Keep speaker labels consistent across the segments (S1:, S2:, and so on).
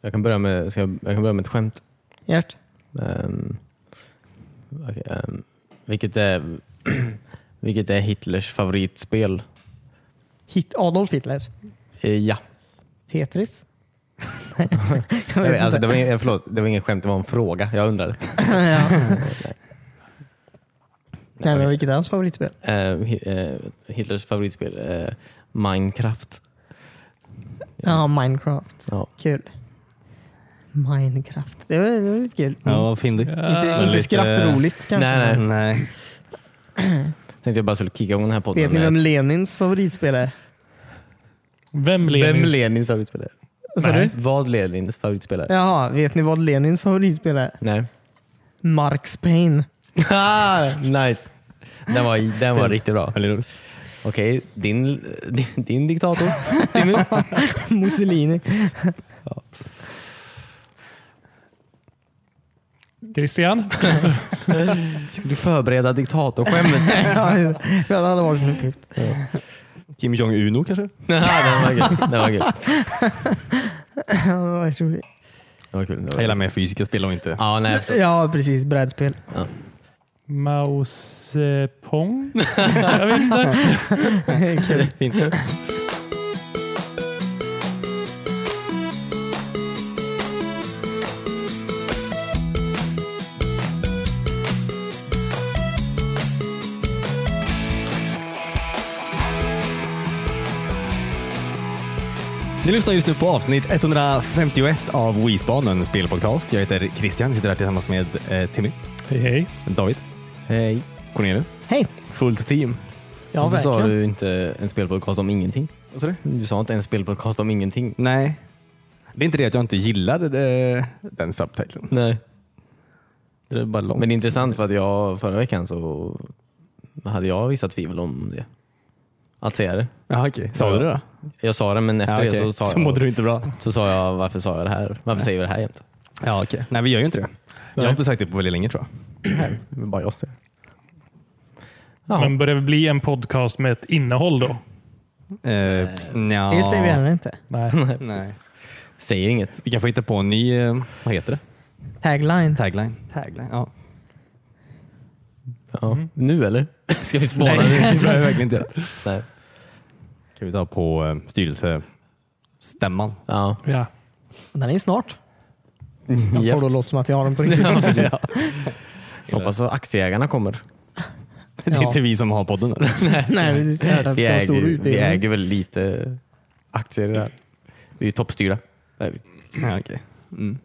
S1: Jag kan börja med, ska jag, jag kan börja med ett skämt.
S2: Gert?
S1: Ehm, okej, ehm, vilket, är, vilket är Hitlers favoritspel?
S2: Hit Adolf Hitler?
S1: Eh, ja.
S2: Tetris?
S1: Jag
S2: vet
S1: vet, alltså,
S2: inte.
S1: det, var ingen, förlåt, det var ingen skämt, det var en fråga. Jag undrade.
S2: ja. Nej, men
S1: okej.
S2: vilket är hans favoritspel?
S1: Eh, Hi- eh, Hitlers favoritspel? eh, Minecraft.
S2: Ja, Minecraft.
S1: Ja.
S2: Kul. Minecraft. Det var, det var lite kul.
S3: Ja, vad fyndig.
S2: Inte, inte
S3: Lite-
S2: skrattroligt kanske.
S1: Nej, nej.
S3: Nej.
S1: Tänkte jag bara skulle kicka igång den här podden. Eh,
S2: Vet ni
S1: med-
S2: vem Lenins favoritspel är?
S3: Vem
S1: Vem
S3: Lenin?
S1: Lenins favoritspel är?
S2: Vad sa
S3: Nej.
S2: du?
S1: Vad Lenins favoritspel är?
S2: Jaha, vet ni vad Lenins favoritspel är?
S1: Nej.
S2: Marx Payne.
S1: Ah, nice! Den var, den var riktigt bra.
S3: Eller hur?
S1: Okej, din, din, din diktator.
S2: Mussolini.
S3: Christian?
S1: Ska du förbereda diktatorskämt?
S2: ja, just det. Ja, det hade varit en uppgift.
S3: Kim Jong-Uno kanske?
S1: Nej, den var kul. Den var kul.
S2: Ja, det var roligt.
S1: Den var kul. Den var
S3: Jag
S1: kul.
S3: gillar mer fysiska spel om inte.
S1: Ja, nej.
S2: Ja, precis. Brädspel.
S4: Mao Zedong? Jag vet inte.
S2: Kul.
S3: Fint. Ni lyssnar just nu på avsnitt 151 av Wisban, en spelpodcast. Jag heter Christian, sitter här tillsammans med eh, Timmy,
S4: Hej hej.
S3: David,
S1: Hej.
S3: Cornelius.
S2: Hej!
S3: Fullt team.
S2: Ja,
S1: Varför sa
S2: verkligen.
S1: du inte en spelpodcast om ingenting?
S3: Vad sa du?
S1: Du sa inte en spelpodcast om ingenting.
S3: Nej. Det är inte det att jag inte gillade det, den subtiteln.
S1: Nej.
S3: Det är bara långt.
S1: Men det är intressant för att jag förra veckan så hade jag vissa tvivel om det. Att säga det.
S3: ja, okej. Sa du det då?
S1: Jag sa det men efter
S3: ja,
S1: det så
S3: okej.
S1: sa,
S3: så
S1: jag,
S3: mådde du inte bra.
S1: så sa jag varför sa jag det här? Varför säger vi det här jämt?
S3: Ja, okej. Nej, vi gör ju inte det. Jag har inte sagt det på väldigt länge tror jag.
S1: Det är bara jag som säger det. Ja.
S4: Men börjar det bli en podcast med ett innehåll då?
S3: Eh, nja.
S2: Det säger vi heller inte.
S4: Nej.
S3: Nej.
S1: Säger inget.
S3: Vi kan få hitta på en ny, eh, vad heter det?
S2: Tagline.
S3: Tagline. Tagline, ja.
S1: Ja. Mm. Nu eller? Ska vi spåna?
S3: Nej,
S1: Nej.
S3: det behöver vi verkligen inte göra.
S1: Nej.
S3: Kan vi ta på eh, styrelsestämman?
S1: Ja. Mm.
S4: Ja.
S2: Den är ju snart. Jag
S1: Ja.
S2: får då låta som att jag har den på riktigt.
S1: Hoppas att aktieägarna kommer.
S3: Det är
S2: Ja.
S3: inte vi som har podden. eller?
S2: Nej, precis. Jag hörde att
S1: Vi
S2: det ska vara
S1: äger,
S2: stor
S1: ju- vi
S2: utdelning.
S1: äger väl lite aktier där. Vi är ju toppstyrda. Nej,
S3: Ja, okej. mm.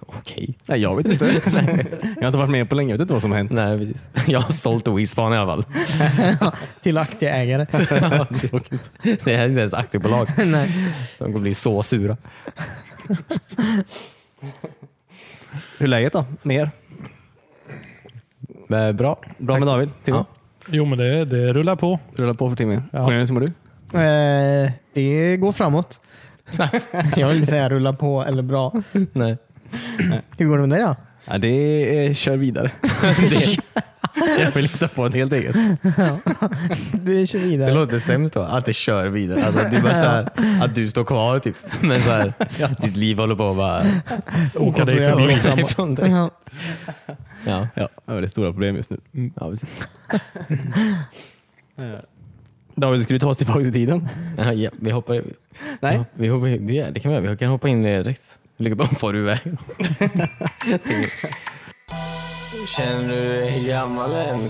S1: Okej.
S3: Nej, jag vet inte. jag har inte varit med på länge. Jag vet inte vad som har hänt.
S1: Nej precis. Jag har sålt Wispan i alla fall.
S2: Till aktieägare.
S1: Tråkigt. Det här är inte ens aktiebolag.
S2: Nej.
S1: De kommer bli så sura.
S3: Hur är läget då? Med er?
S1: Men bra.
S3: Bra med David? Timmy?
S1: Ja.
S4: Jo, men det, det rullar på.
S3: Rulla på för timmen.
S4: Ja.
S3: Cornelius, hur mår du?
S2: Eh, Det går framåt. Jag vill inte säga rulla på eller bra.
S1: Nej.
S2: Hur går det med dig då?
S3: Ja, det är, kör vidare. det, jag vill hitta på ett helt eget.
S2: Det kör
S1: Det
S2: vidare.
S1: låter sämst då, att det kör vidare. Alltså, att, du bara, så här, att du står kvar typ. Men så här, ditt liv håller på att bara
S4: Åka dig
S2: Okontrollerat.
S4: förbi.
S1: åka ifrån dig.
S2: Ja.
S1: Ja.
S3: Ja, det är stora problem just nu.
S1: Ja, precis.
S3: David, ska du ta oss tillbaka i tiden?
S1: ja, ja, vi hoppar
S3: Nej.
S1: Ja, vi hoppar, vi, ja, det kan vi göra. Vi kan hoppa in direkt. Lycka bara far du iväg. Känner du dig gammal än?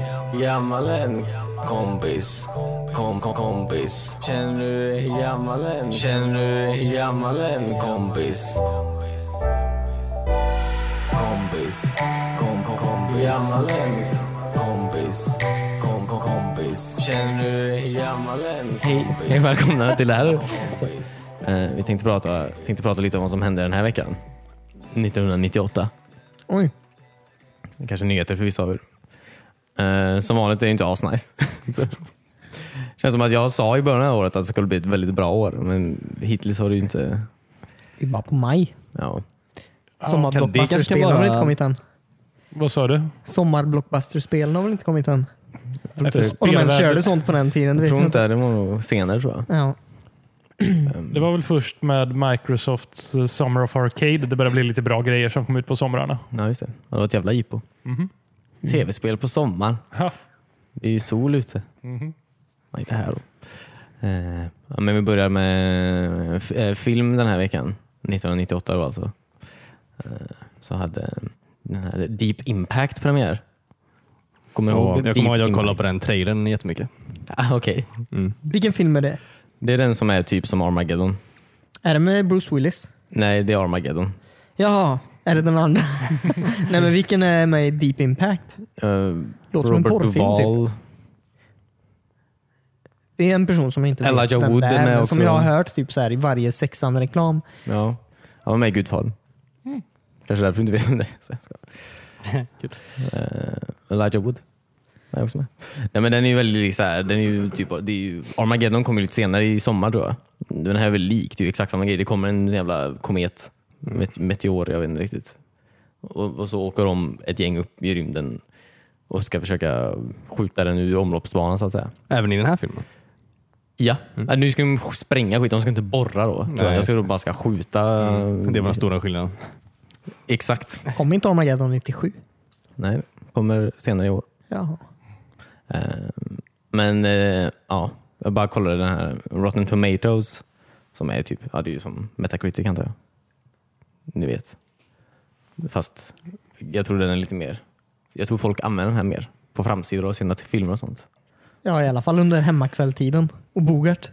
S1: Gammal än? Kompis. Kom, kom, kompis. Känner du dig gammal än? Känner du dig gammal än? Kompis. Kompis. Kom, kom, kompis. Gammal än? Kompis. Kom, kom, kompis. Känner du dig gammal än? Hej, hej välkomna till det här. Eh, vi tänkte prata, tänkte prata lite om vad som hände den här veckan. 1998.
S2: Oj.
S1: Kanske nyheter för vissa av er. Eh, som vanligt är det inte asnice. Så. Känns som att jag sa i början av året att det skulle bli ett väldigt bra år, men hittills har det ju inte...
S2: Det är bara på maj.
S1: Ja.
S3: kanske kan
S2: Sommarblockbusterspelen
S3: vara-
S2: har väl inte kommit än?
S4: Vad sa du?
S2: Sommarblockbusterspelen har väl inte kommit än?
S4: Efter
S2: Och de ens
S4: spelvärlden-
S2: körde sånt på den tiden. det
S1: Jag tror
S2: vet jag inte.
S1: inte det var nog senare tror jag.
S2: Ja.
S4: Det var väl först med Microsofts eh, Summer of Arcade det började bli lite bra grejer som kom ut på somrarna.
S1: Ja, just det. Ja, det var ett jävla jippo. Tv-spel på sommaren.
S4: Ja.
S1: Det är ju sol ute.
S3: Mhm.
S1: Nej, inte här då. Eh, ja, men vi börjar med f- eh, film den här veckan. 1998 då alltså. Eh, så hade den här Deep Impact premiär. Kommer du ihåg
S3: Och jag
S1: Deep
S3: kommer ihåg att jag
S1: Impact?
S3: kollade på den trailern jättemycket.
S1: Ah, Okej.
S2: Vilken film är det?
S1: Det är den som är typ som Armageddon.
S2: Är det med Bruce Willis?
S1: Nej, det är Armageddon.
S2: Jaha, är det den andra? Nej men vilken är med i Deep Impact?
S1: Eh,
S2: Låter som en
S1: Robert
S2: porrfilm, typ.
S1: Duvall.
S2: Det är en person som jag inte
S1: Elijah
S2: vet vem
S1: Wood
S2: det
S1: är med
S2: men
S1: också.
S2: Som jag har hört typ så här, i varje sexan-reklam.
S1: Ja, han var med i Gudfadern.
S3: Mm.
S1: Kanske därför du inte vet vem det är. Så jag skojar. Eh, Elijah Wood är också med. Nej, men den är ju väldigt så här, den är ju typ, det är ju, Armageddon kommer ju lite senare i sommar tror jag. Den här är väl lik, det är ju exakt samma grej. Det kommer en jävla komet, met, meteor, jag vet inte riktigt. Och, och så åker de ett gäng upp i rymden och ska försöka skjuta den ur omloppsbanan så att säga.
S3: Även i den här filmen.
S1: Ja, Ja, nu ska de spränga skit, de ska inte borra då.
S3: Nej,
S1: jag
S3: just
S1: ska
S3: Mm.
S1: då bara ska skjuta.
S3: Det var den stora skillnaden.
S1: Exakt.
S2: Kom inte Armageddon 97?
S1: Nej, kommer senare i år.
S2: Jaha.
S1: Eh, Men eh, ja, jag bara kollade den här Rotten Tomatoes som är typ, ja det är ju som Metacritic antar jag. Ni vet. Fast jag tror den är lite mer, jag tror folk använder den här mer på framsidor av sina filmer och sånt.
S2: Ja, i alla fall under hemmakvälltiden. Och Bogart.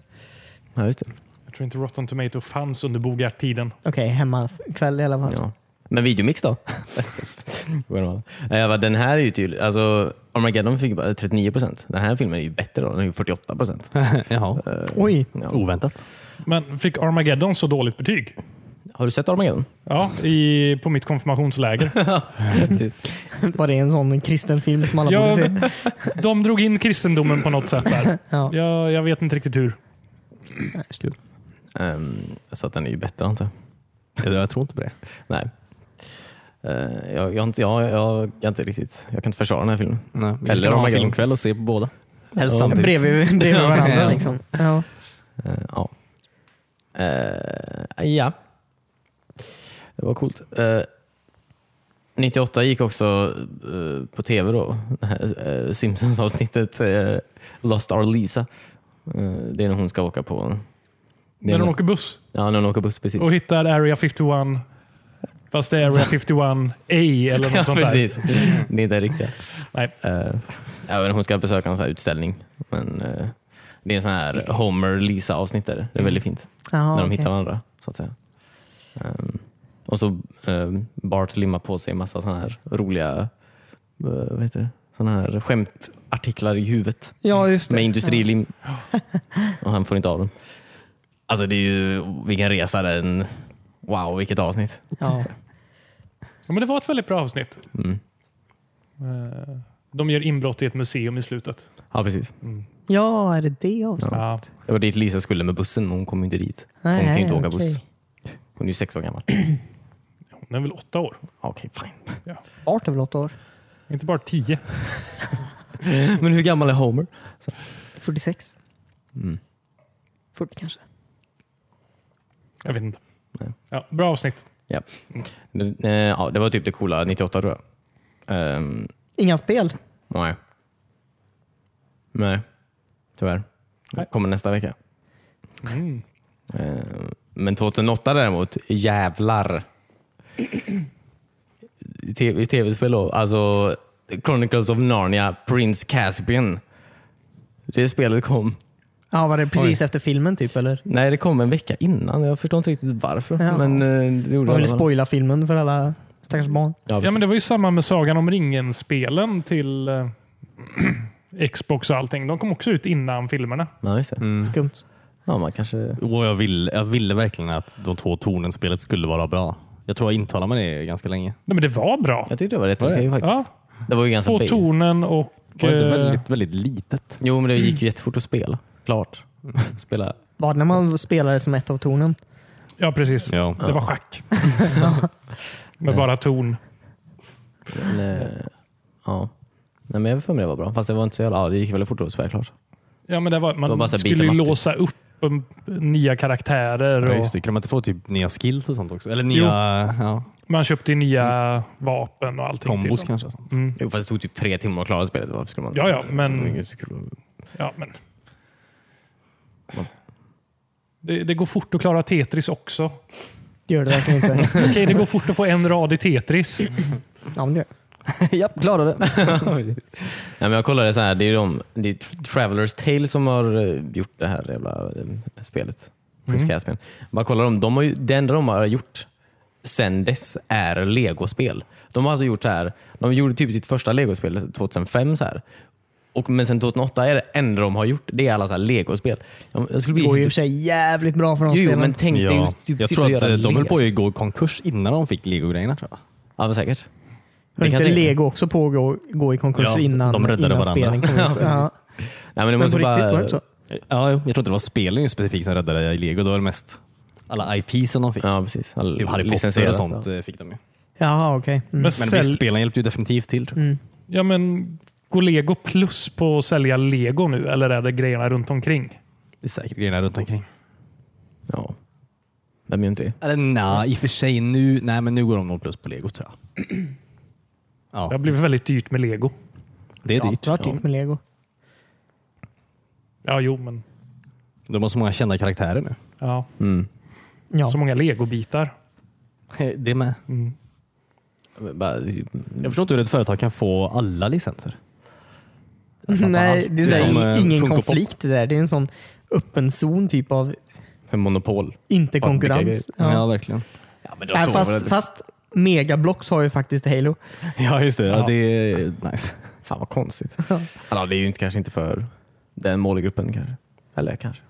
S1: Ja, just det.
S4: Jag tror inte Rotten Tomato fanns under Bogart-tiden.
S2: Okej, hemmakväll i alla fall.
S1: Ja. Men videomix då? Eh, vad den här är ju tydlig, alltså Armageddon fick bara 39 procent. Den här filmen är ju bättre då, den är ju 48 procent.
S3: Jaha.
S2: Oj,
S3: Oväntat.
S4: Men fick Armageddon så dåligt betyg?
S1: Har du sett Armageddon?
S4: Ja, i, på mitt konfirmationsläger.
S1: Precis.
S2: var det en sån kristen film som alla borde
S4: Ja,
S2: se?
S4: de drog in kristendomen på något sätt där.
S2: Ja.
S4: Jag, jag vet inte riktigt hur.
S1: Ehm, så att den är ju bättre antar jag.
S3: Jag tror inte på det.
S1: Nej. Eh, jag, jag, har inte, jag, jag, jag, har inte riktigt, jag kan inte försvara den här filmen.
S3: Nej, vi
S1: Eller
S3: Eller ha en
S1: Armageddon.
S3: filmkväll och se på båda.
S1: Helst samtidigt.
S2: Bredvid, bredvid varandra liksom. Ja.
S1: Eh, ja. Eh, ja. Det var coolt. Eh, 98 gick också eh, på tv då. Det här, eh, Simpsons-avsnittet eh, Lost Our Lisa. Eh, det är när hon ska åka på... Det är
S4: När de
S1: när-
S4: åker buss
S1: Ja, när hon åker buss precis.
S4: och hittar Area 51. Fast det är Area 51A eller något
S1: Ja,
S4: sånt där. Mm.
S1: precis. Det är inte riktigt.
S4: Nej.
S1: Eh, ja, men hon ska besöka en sån här utställning. Men, eh, det är en sån här Homer-Lisa avsnitt där.
S4: Mm.
S1: Det är väldigt fint.
S2: Jaha,
S4: Ah,
S1: när de
S2: okej.
S1: hittar varandra. Så att säga. Ehm, och så ehm, Bart limmar på sig en massa såna här roliga eh, vad heter det? Såna här skämtartiklar i huvudet
S2: Ja, just det.
S1: med industrilim. Och han får inte av dem. Alltså det är ju, vilken resa den... Wow, vilket avsnitt.
S2: Ja.
S4: Ja, men det var ett väldigt bra avsnitt.
S1: Mm.
S4: Eh, De gör inbrott i ett museum i slutet.
S1: Ja, precis.
S2: ja, är det det avsnittet?
S4: Ja.
S1: Det var dit Lisa skulle med bussen, men hon kom ju inte dit. För hon
S2: Nej,
S1: kan ju inte åka
S2: okej.
S1: buss. Hon är ju sex år gammal.
S4: Hon är väl åtta år?
S1: Okej, fine.
S2: Art är väl åtta år?
S4: Inte bara tio?
S1: Men hur gammal är Homer?
S2: 46?
S1: Mm.
S2: 40 kanske.
S4: Jag vet inte.
S1: Nej.
S4: Ja, bra avsnitt.
S1: Ja. Det, eh, ja, det var typ det coola 98 tror jag. Ehm,
S2: Inga spel?
S1: nej. Nej, tyvärr.
S4: Nej.
S1: Kommer nästa vecka.
S4: Mm.
S1: Ehm, men 2008 däremot, jävlar. I TV, i tv-spel då, alltså Chronicles of Narnia, Prince Caspian. Det spelet kom.
S2: Ja, var det precis efter filmen typ eller?
S1: Nej, det kom en vecka innan. Jag förstår inte riktigt varför.
S2: Ja.
S1: Men eh, det gjorde
S2: Man
S1: det i
S2: ville
S1: alla fall.
S2: spoila filmen för alla stackars barn.
S1: Ja,
S4: Ja,
S1: precis.
S4: men det var ju samma med Sagan om ringen-spelen till eh, Xbox och allting. De kom också ut innan filmerna.
S1: ja, just det.
S2: Skumt.
S1: Ja, man kanske...
S3: Och jag, ville, jag ville verkligen att de två tornen-spelet skulle vara bra. Jag tror jag intalade mig det ganska länge.
S4: Nej, men det var bra.
S1: Jag tyckte det var rätt
S3: Var det?
S1: okej faktiskt.
S4: Ja,
S1: Det var ju ganska
S4: på
S1: basic.
S4: tonen och...
S3: Det var inte
S4: eh,
S3: väldigt, väldigt litet.
S1: Jo, men det gick ju jättefort att spela. Klart. Spela.
S2: Var det när man spelade som ett av tornen?
S4: Ja, precis.
S3: Ja.
S4: Det var schack. med bara torn.
S1: Men, eh, ja. Nej, men jag har för mig det var bra. Fast det var inte så jävla... Ja, det gick väldigt fort att spela klart.
S4: Ja, men det var,
S1: Det var bara
S4: man
S1: så här
S4: skulle ju
S1: beat 'em up,
S4: låsa upp upp en, nya karaktärer.
S3: Ja,
S4: Och
S3: just det. Kan man inte få typ nya skills och sånt också? Eller nya ja,
S4: Man köpte ju nya vapen och allting. till
S3: kombos
S4: dem.
S3: kanske? och Sånt.
S4: Mm.
S1: Jo, fast det tog typ tre timmar att klara spelet. Varför skulle man...
S4: Ja, ja, men-
S1: Det är inte så kul att-
S4: Ja, men. Det, det går fort att klara Tetris också.
S2: Gör det verkligen inte.
S4: Okej, det går fort att få en rad i Tetris.
S2: Ja, men det gör det.
S3: Japp, klarade
S1: Nej, men jag kollade så här, det är ju de, det är Travelers Tale som har eh, gjort det här jävla eh, spelet.
S2: Mm.
S1: Chris Caspian. Bara kolla dem, de har ju, det enda de har gjort sen dess är legospel. De har alltså gjort så här, de gjorde typ sitt första legospel 2005 så här. Och, men sen 2008 är det enda de har gjort, det är alla så här legospel. Jag, jag skulle
S2: Det
S1: bli
S2: går ju i och för sig jävligt bra för de
S1: Jo, jo,
S2: spelen.
S1: men tänk dig
S3: Ja.
S1: att typ
S3: Jag
S1: sitta
S3: tror
S1: och
S3: att
S1: göra
S3: eh, de höll
S1: lego.
S3: på att gå i konkurs innan de fick Lego-grejerna. tror jag.
S1: Ja, men säkert.
S2: Höll
S1: Det kan
S2: inte
S1: jag tänka.
S2: lego också på att gå, gå i konkurs
S3: Ja,
S2: innan,
S3: de räddade
S2: innan
S3: varandra.
S2: spelen kom ut?
S1: Ja, precis.
S2: ja.
S1: Nej, men det
S2: Men
S1: måste
S2: på
S1: bara...
S2: riktigt, var det inte så?
S3: Ja, jo. jag tror inte det var spelen just specifikt som räddade Lego. Det var det mest alla IPs som de fick.
S1: Ja, precis. All-
S3: Typ Harry Potter
S1: licensierat,
S3: och sånt eh, fick de ju.
S2: Jaha, okej. Mm.
S4: Men,
S3: Men
S4: sälj,
S3: visst, spelen hjälpte ju definitivt till. Tror jag.
S1: Mm.
S4: ja, men går Lego plus på att sälja Lego nu eller är det grejerna runt omkring?
S3: Det är säkert grejerna runt omkring.
S1: ja. Ja. Vem gör inte det?
S3: Eller nej, i och för sig. Nu, nej, men nu går de nog plus på Lego tror jag.
S4: Det har
S3: Ja,
S4: blivit väldigt dyrt med Lego.
S3: det är
S2: Ja,
S3: dyrt.
S2: det var dyrt med lego.
S4: Ja, jo, men
S3: De har så många kända karaktärer nu.
S4: ja.
S1: Mm.
S2: Ja.
S4: så många legobitar.
S3: Det med.
S1: Bara,
S3: Jag förstår inte hur ett företag kan få alla licenser.
S2: Nej, det är,
S3: Det är
S2: så
S3: som,
S2: här,
S3: eh,
S2: ingen
S3: Funko Pop.
S2: konflikt det där. Det är en sån öppen zon typ av
S1: för monopol.
S2: inte-konkurrens.
S3: Ja,
S2: Ja.
S3: verkligen.
S1: Ja, men
S2: Äh, fast, fast Megablox har ju faktiskt Halo.
S3: Ja, just det. Ja,
S4: Ja.
S3: det är nice.
S1: Fan vad konstigt. Alltså, det är ju inte, kanske inte för den målgruppen kanske. Eller kanske.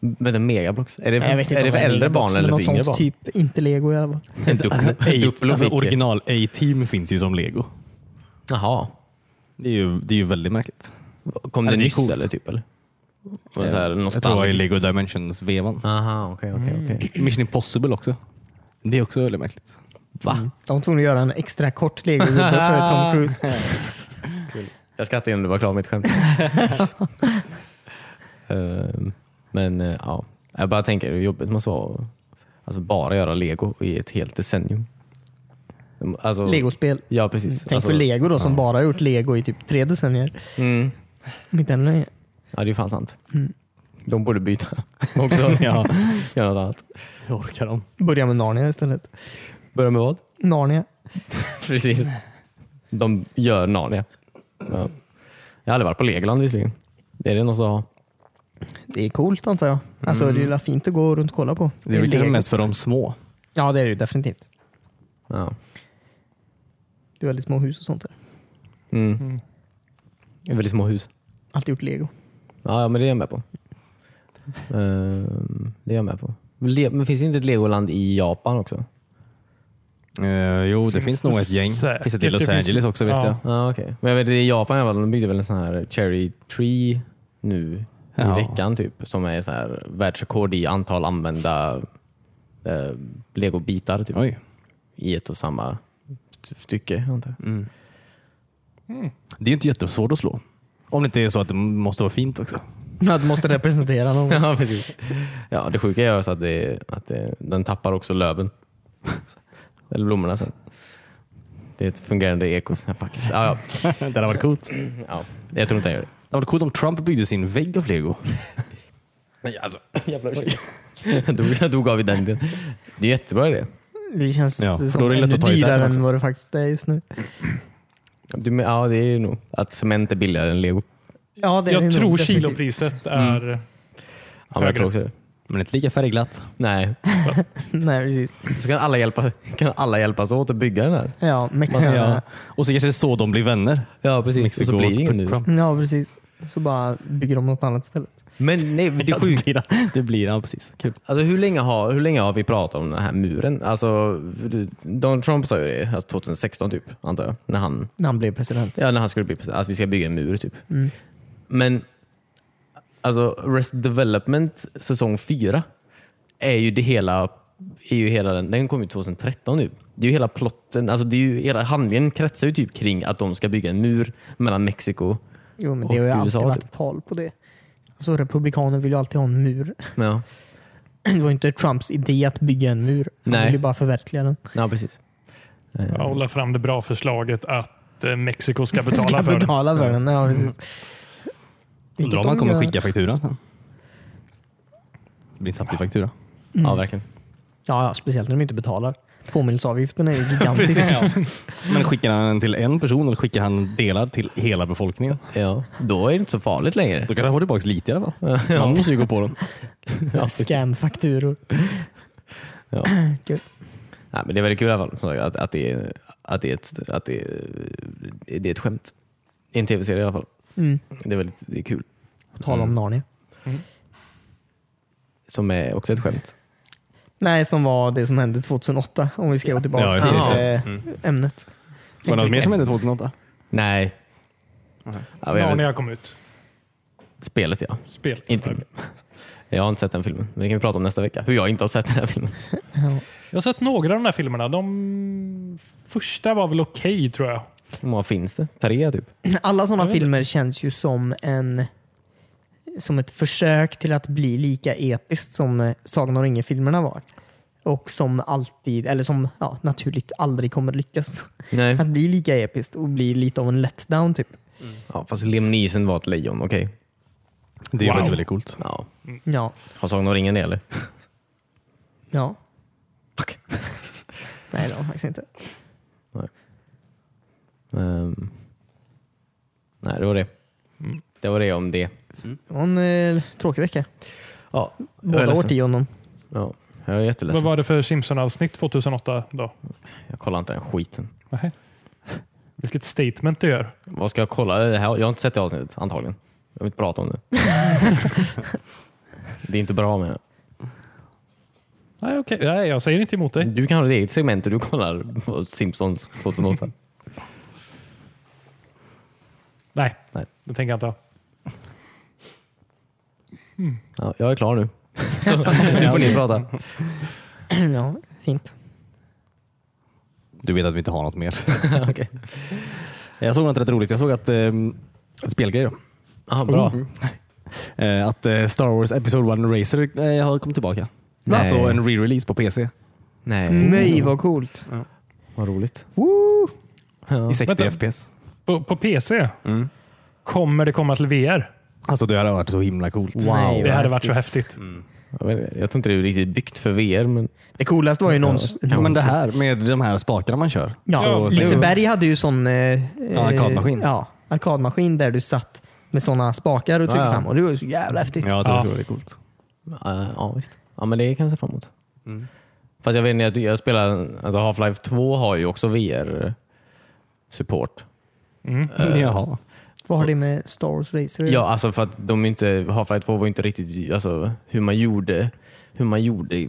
S1: Men den megablox. Är det för,
S2: Jag vet inte
S1: är
S2: om
S1: det för
S2: är
S1: äldre
S2: Megablox,
S1: barn
S2: men
S1: eller för
S2: något
S1: yngre
S2: sånt
S1: barn?
S2: typ, inte lego i alla fall.
S1: En Duplo, en duplo
S3: alltså,
S1: fick original.
S3: original A-team finns ju som lego.
S1: Jaha.
S3: Det är ju, det är ju väldigt märkligt.
S1: Kom
S3: Ja,
S1: det,
S3: det är
S1: nyss
S3: coolt.
S1: eller? typ eller? Eh, Var det så här
S3: Jag tror det var i
S1: nostalgiskt?
S3: Lego Dimensions-vevan.
S1: Aha, okej, okej, okej.
S3: Mission Impossible också. Det är också väldigt märkligt.
S1: Va?
S2: De var tvungna att göra en extra kort legogubbe för Tom Cruise.
S1: Jag skrattade innan du var klar med mitt skämt. Ehm, men eh, ja, jag bara tänker hur jobbigt måste vara alltså bara göra lego i ett helt decennium. Alltså,
S2: Legospel.
S1: Ja, precis.
S2: Tänk
S1: alltså,
S2: för lego då som bara har gjort lego i typ tre decennier.
S1: mm,
S2: Mitt ännu längre.
S1: Ja, det är fan sant. De borde byta också.
S3: ja,
S1: Göra något annat.
S3: hur orkar de?
S2: Börja med Narnia istället.
S1: Börja med vad?
S2: Narnia.
S1: Precis. De gör Narnia. Ja. Jag har aldrig varit på Legoland visserligen. Det är det någon som har.
S2: Det är coolt antar jag. Alltså Det är ju la fint att gå runt och kolla på.
S3: Det är väl kanske
S2: lego.
S3: mest för de små.
S2: Ja det är det ju definitivt.
S1: Ja.
S2: Det är väldigt små hus och sånt där.
S1: Mm.
S4: Mm.
S1: Det är väldigt små hus.
S2: Alltid gjort lego.
S1: Ja, ja, men det är jag med på. Ehm, det är jag med på. Le- men finns det inte ett legoland i Japan också?
S3: Eh, jo, det finns,
S4: det
S3: nog ett gäng.
S4: säkert.
S3: Finns det i
S4: Det
S3: Los
S4: finns-
S3: Angeles också vet
S4: ja.
S3: jag.
S1: Ja, ah, okej. Men jag vet, i Japan i alla fall, de byggde väl en sån här cherry tree nu
S3: Ja.
S1: i veckan typ. Som är så här världsrekord i antal använda eh, legobitar typ,
S3: Oj.
S1: i ett och samma st- stycke. Antar jag.
S3: Det är ju inte jättesvårt att slå. Om det inte är så att det måste vara fint också.
S2: Ja, du måste representera någon.
S1: Ja, precis. Ja, det sjuka är så att, det, att det, den tappar också löven. Eller blommorna sen. Det är ett fungerande ekosystem. Fuck it. Ja, ja.
S3: det hade varit coolt. Det
S1: ja, jag tror inte jag gör det.
S3: hade varit coolt om Trump byggde sin vägg av lego.
S1: Nej, alltså. Jävlar. Jag dog, jag dog av i den delen. Det är jättebra idé.
S2: Det känns
S3: Ja, för
S2: som
S3: då är det lätt
S2: ännu
S3: att ta isär
S2: dyrare
S3: sen också.
S2: än vad det faktiskt är just nu.
S1: Du, men- ja, det är ju nog att cement är billigare än lego.
S2: Ja, det är
S4: Jag
S2: det nog
S4: tror
S2: definitivt.
S4: kilopriset är...
S1: Ja, men jag
S4: Högre.
S1: tror också det.
S3: Men inte lika färgglatt.
S1: Nej,
S2: Nej, precis.
S1: så kan alla, hjälpa, kan alla hjälpas åt att bygga den här.
S2: Ja, mexarna.
S3: Ja.
S2: Ja.
S3: Och så kanske det är så de blir vänner.
S1: Ja, precis.
S3: Mexiko
S1: så blir det ingen
S3: och
S1: nu.
S3: Trump.
S2: Mm. precis. Så bara bygger de något annat istället.
S1: Men nej, det
S3: Ja,
S1: är sjukt.
S3: blir det. Det blir ja, precis. Kul.
S1: Alltså, hur, länge har, hur länge har vi pratat om den här muren? Alltså, Donald Trump sa ju det alltså 2016 typ, antar jag. När han
S2: När han blev president.
S1: Ja, när han skulle bli president. Alltså, vi ska bygga en mur typ. Men alltså, Rest Development säsong 4 är ju det hela, är ju hela den, den kom ju 2013 nu. Det är ju hela plotten, alltså det är ju, hela handlingen kretsar ju typ kring att de ska bygga en mur mellan Mexiko
S2: Jo, men
S1: Och
S2: det har ju
S1: USA,
S2: alltid
S1: typ.
S2: varit tal på det. Så republikaner vill ju alltid ha en mur.
S1: Ja,
S2: Det var ju inte Trumps idé att bygga en mur. Han
S1: Nej.
S2: ville ju bara förverkliga den.
S1: ja precis. Eh,
S4: Jag håller fram det bra förslaget att eh, Mexiko ska betala
S2: Ska
S4: för det.
S2: betala för den. Ja, precis. Vilket
S3: Undrar om
S2: de
S3: han kommer
S2: gör.
S3: skicka fakturan sen. Det blir en saftig faktura.
S1: Ja, verkligen.
S2: Ja, ja, speciellt när de inte betalar. Påminnelseavgiften är ju gigantisk.
S3: Men skickar han den till en person eller skickar han delar till hela befolkningen?
S1: Ja, då är det inte så farligt längre.
S3: Då kan han få tillbaka lite i alla fall. Man måste ju gå på den.
S1: Ja, precis.
S2: Scamfakturor.
S1: Ja.
S2: Kul.
S1: Nej, men det är väldigt kul i alla fall som sagt, att, att, det, är, att, det, är ett, att det, är, det är ett skämt. I en tv-serie i alla fall.
S2: Mm.
S1: Det är väldigt det är kul.
S2: På tal om Narnia.
S1: Som är också ett skämt.
S2: Nej, som var det som hände 2008. Om vi ska gå tillbaka
S3: Ja, just
S2: till
S1: det.
S2: eh, ämnet.
S3: Var det något mer som hände 2008?
S1: Nej. Ja, men jag
S4: Ja,
S1: vet,
S4: när jag kom ut.
S1: spelet ja.
S4: Spel.
S1: Inte filmen. Jag har inte sett den filmen, men det kan vi prata om nästa vecka. Hur jag inte har sett den här filmen.
S4: Jag har sett några av de här filmerna. De första var väl okej tror jag.
S1: Hur många finns det? Tre typ?
S2: Alla sådana
S4: Jag vet
S2: filmer känns ju som en som ett försök till att bli lika episkt som eh, Sagan om ringen-filmerna var. Och som alltid, eller som ja, naturligt aldrig kommer lyckas.
S1: Nej.
S2: Att bli lika episkt och bli lite av en letdown typ.
S1: Ja, fast Liam Neeson var ett lejon, okej.
S3: Det är
S4: Wow.
S3: faktiskt väldigt coolt.
S1: Ja.
S2: Ja.
S1: Har Sagan om ringen det eller?
S2: ja.
S1: Fuck.
S2: Nej, det var faktiskt inte.
S1: Ehm. Mm. Nej, det var det. Det var det om det.
S2: Det var en eh, tråkig vecka.
S1: Ja, jag är
S2: Båda
S1: ledsen.
S2: årtionden.
S1: Ja, jag är
S4: Vad
S1: jätteledsen.
S4: var det för Simpson-avsnitt 2008 då?
S1: Jag kollar inte den skiten.
S4: Nej. Vilket statement du gör.
S1: Vad ska jag kolla? Det här- Jag har inte sett det avsnittet, antagligen. Jag vill inte prata om det. det är inte bra med
S4: Nej, okej. Nej, jag säger inte emot dig.
S1: Du kan ha ditt eget segment och du kollar på Simpsons 2008.
S4: Nej,
S1: Nej.
S4: det tänker jag inte ha.
S1: Ja, jag är klar nu. Så, nu får ni prata.
S2: ja, fint.
S3: Du vet att vi inte har något mer.
S1: Okej.
S3: Jag såg något rätt roligt. Jag såg att eh, spelgrej då.
S1: Aha, bra.
S3: Eh, att eh, Star Wars Episode 1 Racer eh, har kommit tillbaka.
S1: Nej.
S3: Alltså en re-release på PC
S1: Nej,
S2: Nej, vad coolt.
S1: Mm. vad roligt.
S2: Woo!
S1: Ja.
S3: i 60
S4: Vänta.
S3: FPS.
S4: På, på PC?
S1: Mm.
S4: Kommer det komma till VR?
S3: Alltså det hade varit så himla coolt.
S2: Nej,
S4: Det
S2: vad
S4: hade varit så häftigt.
S1: Jag, vet, jag tror inte det är riktigt byggt för VR, men
S2: Det coolaste var ju någons...
S3: Ja, men det här med de här spakarna man kör.
S2: Ja,
S4: Ja,
S2: Liseberg hade ju sån... Eh, eh,
S3: arkadmaskin.
S2: Ja, arkadmaskin där du satt med sådana spakar och tryckte
S1: Ja, ja.
S2: fram. Och det var ju så jävla häftigt.
S3: Ja, jag tror
S4: Ja.
S3: det är coolt.
S1: eh, ja visst. Ja, men det kan jag se fram emot.
S2: Mm.
S1: Fast jag vet inte, jag, jag spelar, alltså Half-Life 2 har ju också VR-support. Mm.
S4: Mm.
S3: Mm, Jaha.
S2: Vad har det med Star Wars Racer att göra?
S1: Ja, alltså för att de inte, Half-Life 2 var ju inte riktigt alltså, hur man gjorde hur man gjorde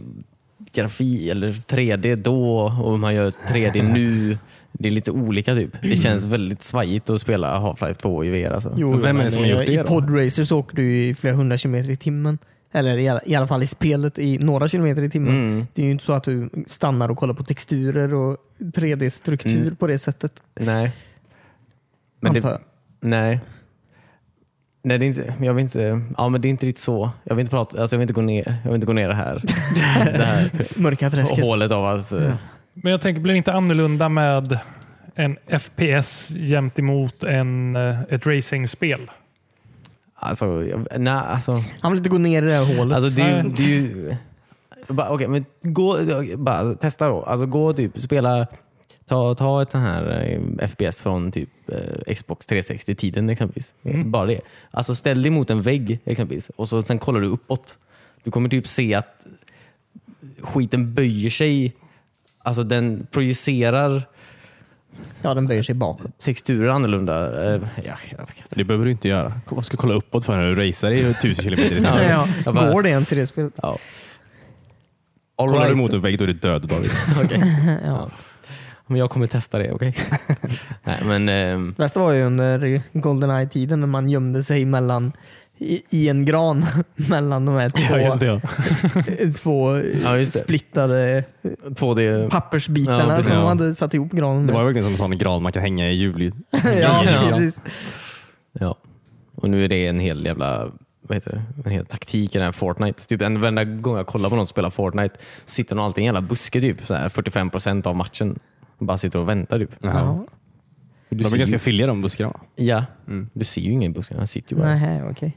S1: grafi eller 3D då och hur man gör 3D nu. Det är lite olika typ. Det känns väldigt svajigt att spela Half-Life 2 i VR. Alltså.
S2: Jo,
S3: Vem är det
S2: men,
S3: som har gjort
S2: eh,
S3: det
S2: I
S3: då?
S2: podracer så åker du ju i flera hundra kilometer i timmen. Eller i alla, i alla fall i spelet i några kilometer i timmen. Det är ju inte så att du stannar och kollar på texturer och 3D-struktur på det sättet.
S1: Nej. Men
S2: Antar
S1: det,
S2: jag.
S1: nej. Nej, det är inte, jag vill inte, ja, men det är inte riktigt så. Jag vill inte, prata, alltså jag vill inte gå ner jag vill inte gå ner det här, det här
S2: Mörka träsket.
S1: hålet av att... eh,
S4: Men jag tänker, blir det inte annorlunda med en FPS jämt emot en, eh, ett racingspel?
S1: Alltså, jag- nej, alltså.
S2: Han vill inte gå ner i det här hålet.
S1: Alltså det är ju... Det är ju bara, okej, men gå, bara testa då. Alltså gå typ, spela, ta, ta ett den här eh, FPS från typ eh, Xbox 360-tiden exempelvis. Bara det. Alltså ställ dig mot en vägg exempelvis och så, sen kollar du uppåt. Du kommer typ se att skiten böjer sig. Alltså den projicerar
S2: ja, den böjer sig bakåt.
S1: texturer annorlunda. Eh, ja, jag vet inte.
S3: Det behöver du inte göra. Vad ska du kolla uppåt för när du racear i 1000 kilometer i timmen?
S2: Ja,
S1: jag bara-
S2: Går det ens i det spelet?
S1: Ja. All
S3: Kollar du
S1: right.
S3: mot en vägg då är du död David.
S1: Okej. ja. Men jag kommer testa det, okej? Nej, men... ehm,
S2: Det bästa var ju under Goldeneye-tiden när man gömde sig mellan, i, i en gran mellan de här två,
S3: det.
S2: två
S1: Ja, just det.
S2: splittade
S1: 2D...
S2: pappersbitarna
S1: Ja, precis.
S2: som de
S3: Ja.
S2: hade satt ihop granen
S3: Det
S2: med.
S3: var ju verkligen som en sån gran man kan hänga i jul. i.
S2: ja,
S1: Ja.
S2: precis.
S1: Ja. Och nu är det en hel jävla vad heter det, en hel taktik i den här Fortnite. Typ en varenda gång jag kollar på någon spela Fortnite så sitter de alltid i en jävla buske typ, så här 45% av matchen. Bara sitter och väntar typ.
S2: Ja.
S1: Du,
S3: De
S1: ser
S3: är ganska
S1: ju,
S3: fylliga de buskarna. va?
S1: ja, Mm. du ser ju ingen i busken, han sitter ju bara.
S2: Nej, okej.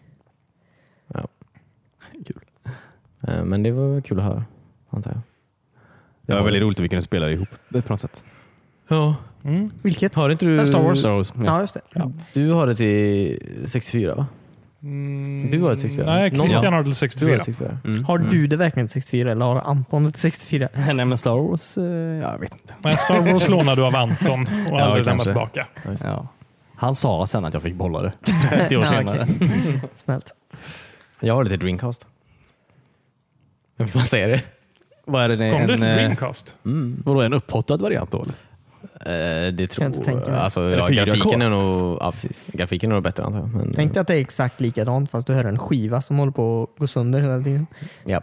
S1: Eh, Men det var kul att höra, antar jag.
S3: Det var väldigt roligt att vi kunde spela ihop på något sätt.
S1: Ja.
S4: Mm.
S2: Vilket?
S1: Har inte du...
S2: Star Wars.
S3: Star Wars. Ja.
S2: Ja, just det.
S1: Du har det till 64 va?
S4: Mm.
S1: Du har ett 64.
S4: Nej,
S1: Någon
S4: Christian
S1: har-
S4: har till
S1: Du har
S4: 64.
S1: det till 64.
S3: Mm.
S2: Har du det verkligen till 64 eller har Anton det till 64?
S3: Nej, men Mm. Star Wars, eh, jag vet inte.
S4: Nej, Star Wars lånade du av Anton och aldrig lämnat
S1: kanske.
S4: tillbaka.
S3: Ja. Han sa sen att jag fick behålla det 30 år
S2: Ja,
S3: senare.
S2: okej. Snällt.
S1: Jag har det till Dreamcast. Jag vill bara säga det.
S3: Vad är det?
S4: Kom det
S3: En,
S4: ett
S3: eh,
S4: Dreamcast?
S3: vadå, en upphottad variant då? Eller?
S1: Eh, det tror
S2: Mm. Kan jag inte tänka mig.
S1: Alltså,
S3: det
S1: ja,
S3: 4K?
S1: grafiken är nog ja, precis. Grafiken är nog bättre antar jag. Men,
S2: Tänk dig att det är exakt likadant fast du hör en skiva som håller på att gå sönder hela tiden.
S1: ja.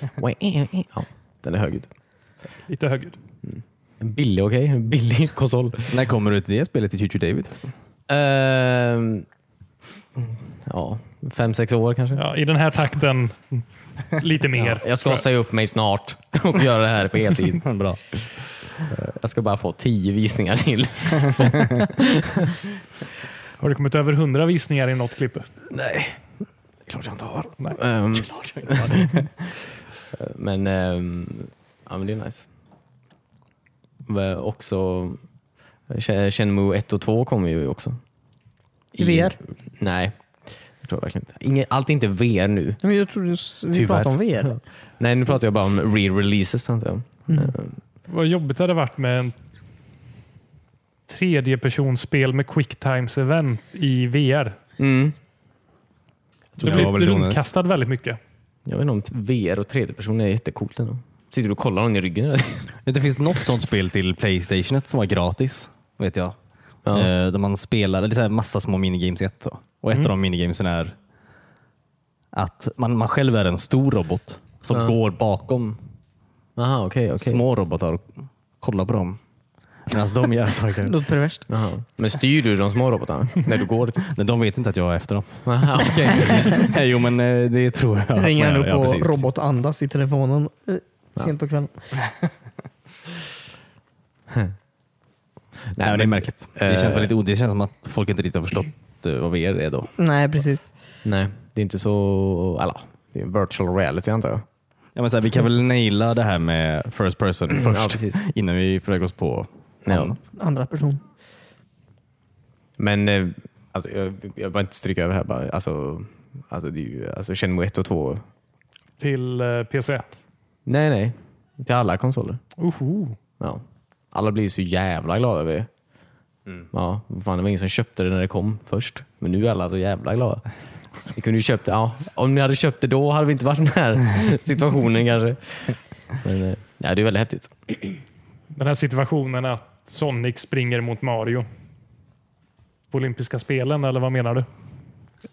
S1: ja, den är högljudd.
S4: Lite högljudd.
S1: En billig, okej? En billig konsol.
S3: När kommer du till det spelet till Choo David?
S1: Ehm, ja, fem, sex år kanske.
S4: Ja, I den här takten lite mer.
S1: Jag
S4: tror
S1: ska säga upp mig snart och göra det här på heltid.
S3: Bra.
S1: Jag ska bara få tio visningar till.
S4: Har du kommit över hundra visningar i något klipp?
S1: Nej, det är klart jag inte har.
S4: Nej.
S1: Ehm, men, ehm, ja, men det är nice. Men också Sh- Shenmue 1 och 2 kommer ju också.
S2: I VR?
S1: Nej, jag tror verkligen inte. Inge, allt är inte VR nu.
S2: Men jag trodde s- vi
S1: Tyvärr.
S2: pratade om VR.
S1: Nej, nu pratar jag bara om re-releases. antar jag.
S4: Vad jobbigt det hade varit med en tredjepersonsspel med quicktimes event i VR.
S1: Mm.
S3: det
S4: Det
S3: var
S4: blir
S3: väl onödigt.
S4: rundkastad väldigt mycket.
S1: Jag vet inte om t- VR och 3D-person är jättecoolt ändå. Sitter du och kollar någon i ryggen eller?
S3: Det finns något sånt spel till Playstation som var gratis, vet jag.
S1: Ja.
S3: Eh, där man spelar, det är så här massa små minigames i ett. Då. Och
S2: Mm.
S3: ett av de minigamesen är att man, man själv är en stor robot som går bakom
S1: Jaha, okej. okej.
S3: små robotar och kollar på dem. Medan de gör saker.
S2: Låter perverst.
S1: Jaha. Men styr du de små robotarna när du går? typ?
S3: Nej, de vet inte att jag är efter dem.
S1: Jaha, okej.
S3: Nej, jo, men eh, det tror jag. att man
S2: Ringer han
S3: gör.
S2: upp
S3: Ja,
S2: och
S3: precis, precis.
S2: robot andas i telefonen eh, sent på kvällen.
S3: Nej, men det är
S1: men-
S3: märkligt. Det
S1: Eh.
S3: känns, väldigt, o- det känns som att folk inte riktigt har förstått eh, vad VR är då.
S2: Nej, precis.
S1: Nej, det är inte så... Alla, det är virtual reality antar jag.
S3: Ja, men så här, vi kan väl naila det här med first person
S1: Ja,
S3: först
S1: precis.
S3: innan vi försöker oss på
S1: Ja.
S3: annat.
S2: Andra person.
S1: Men eh, alltså, jag, jag bara inte stryka över här bara. Alltså, alltså, det är ju, alltså Shenmue 1 och 2.
S4: Till eh, PC.
S1: Nej, nej. Till alla konsoler.
S4: Oho.
S1: Ja. Alla blir ju så jävla glada över det. Ja, fan, det var ingen som köpte det när det kom först. Men nu är alla så jävla glada. Ni kunde ju köpt det. Ja, om ni hade köpt det då hade vi inte varit i den här situationen kanske. Men eh, ja, det är väldigt häftigt.
S4: Den här situationen att Sonic springer mot Mario. På olympiska spelen, eller vad menar du?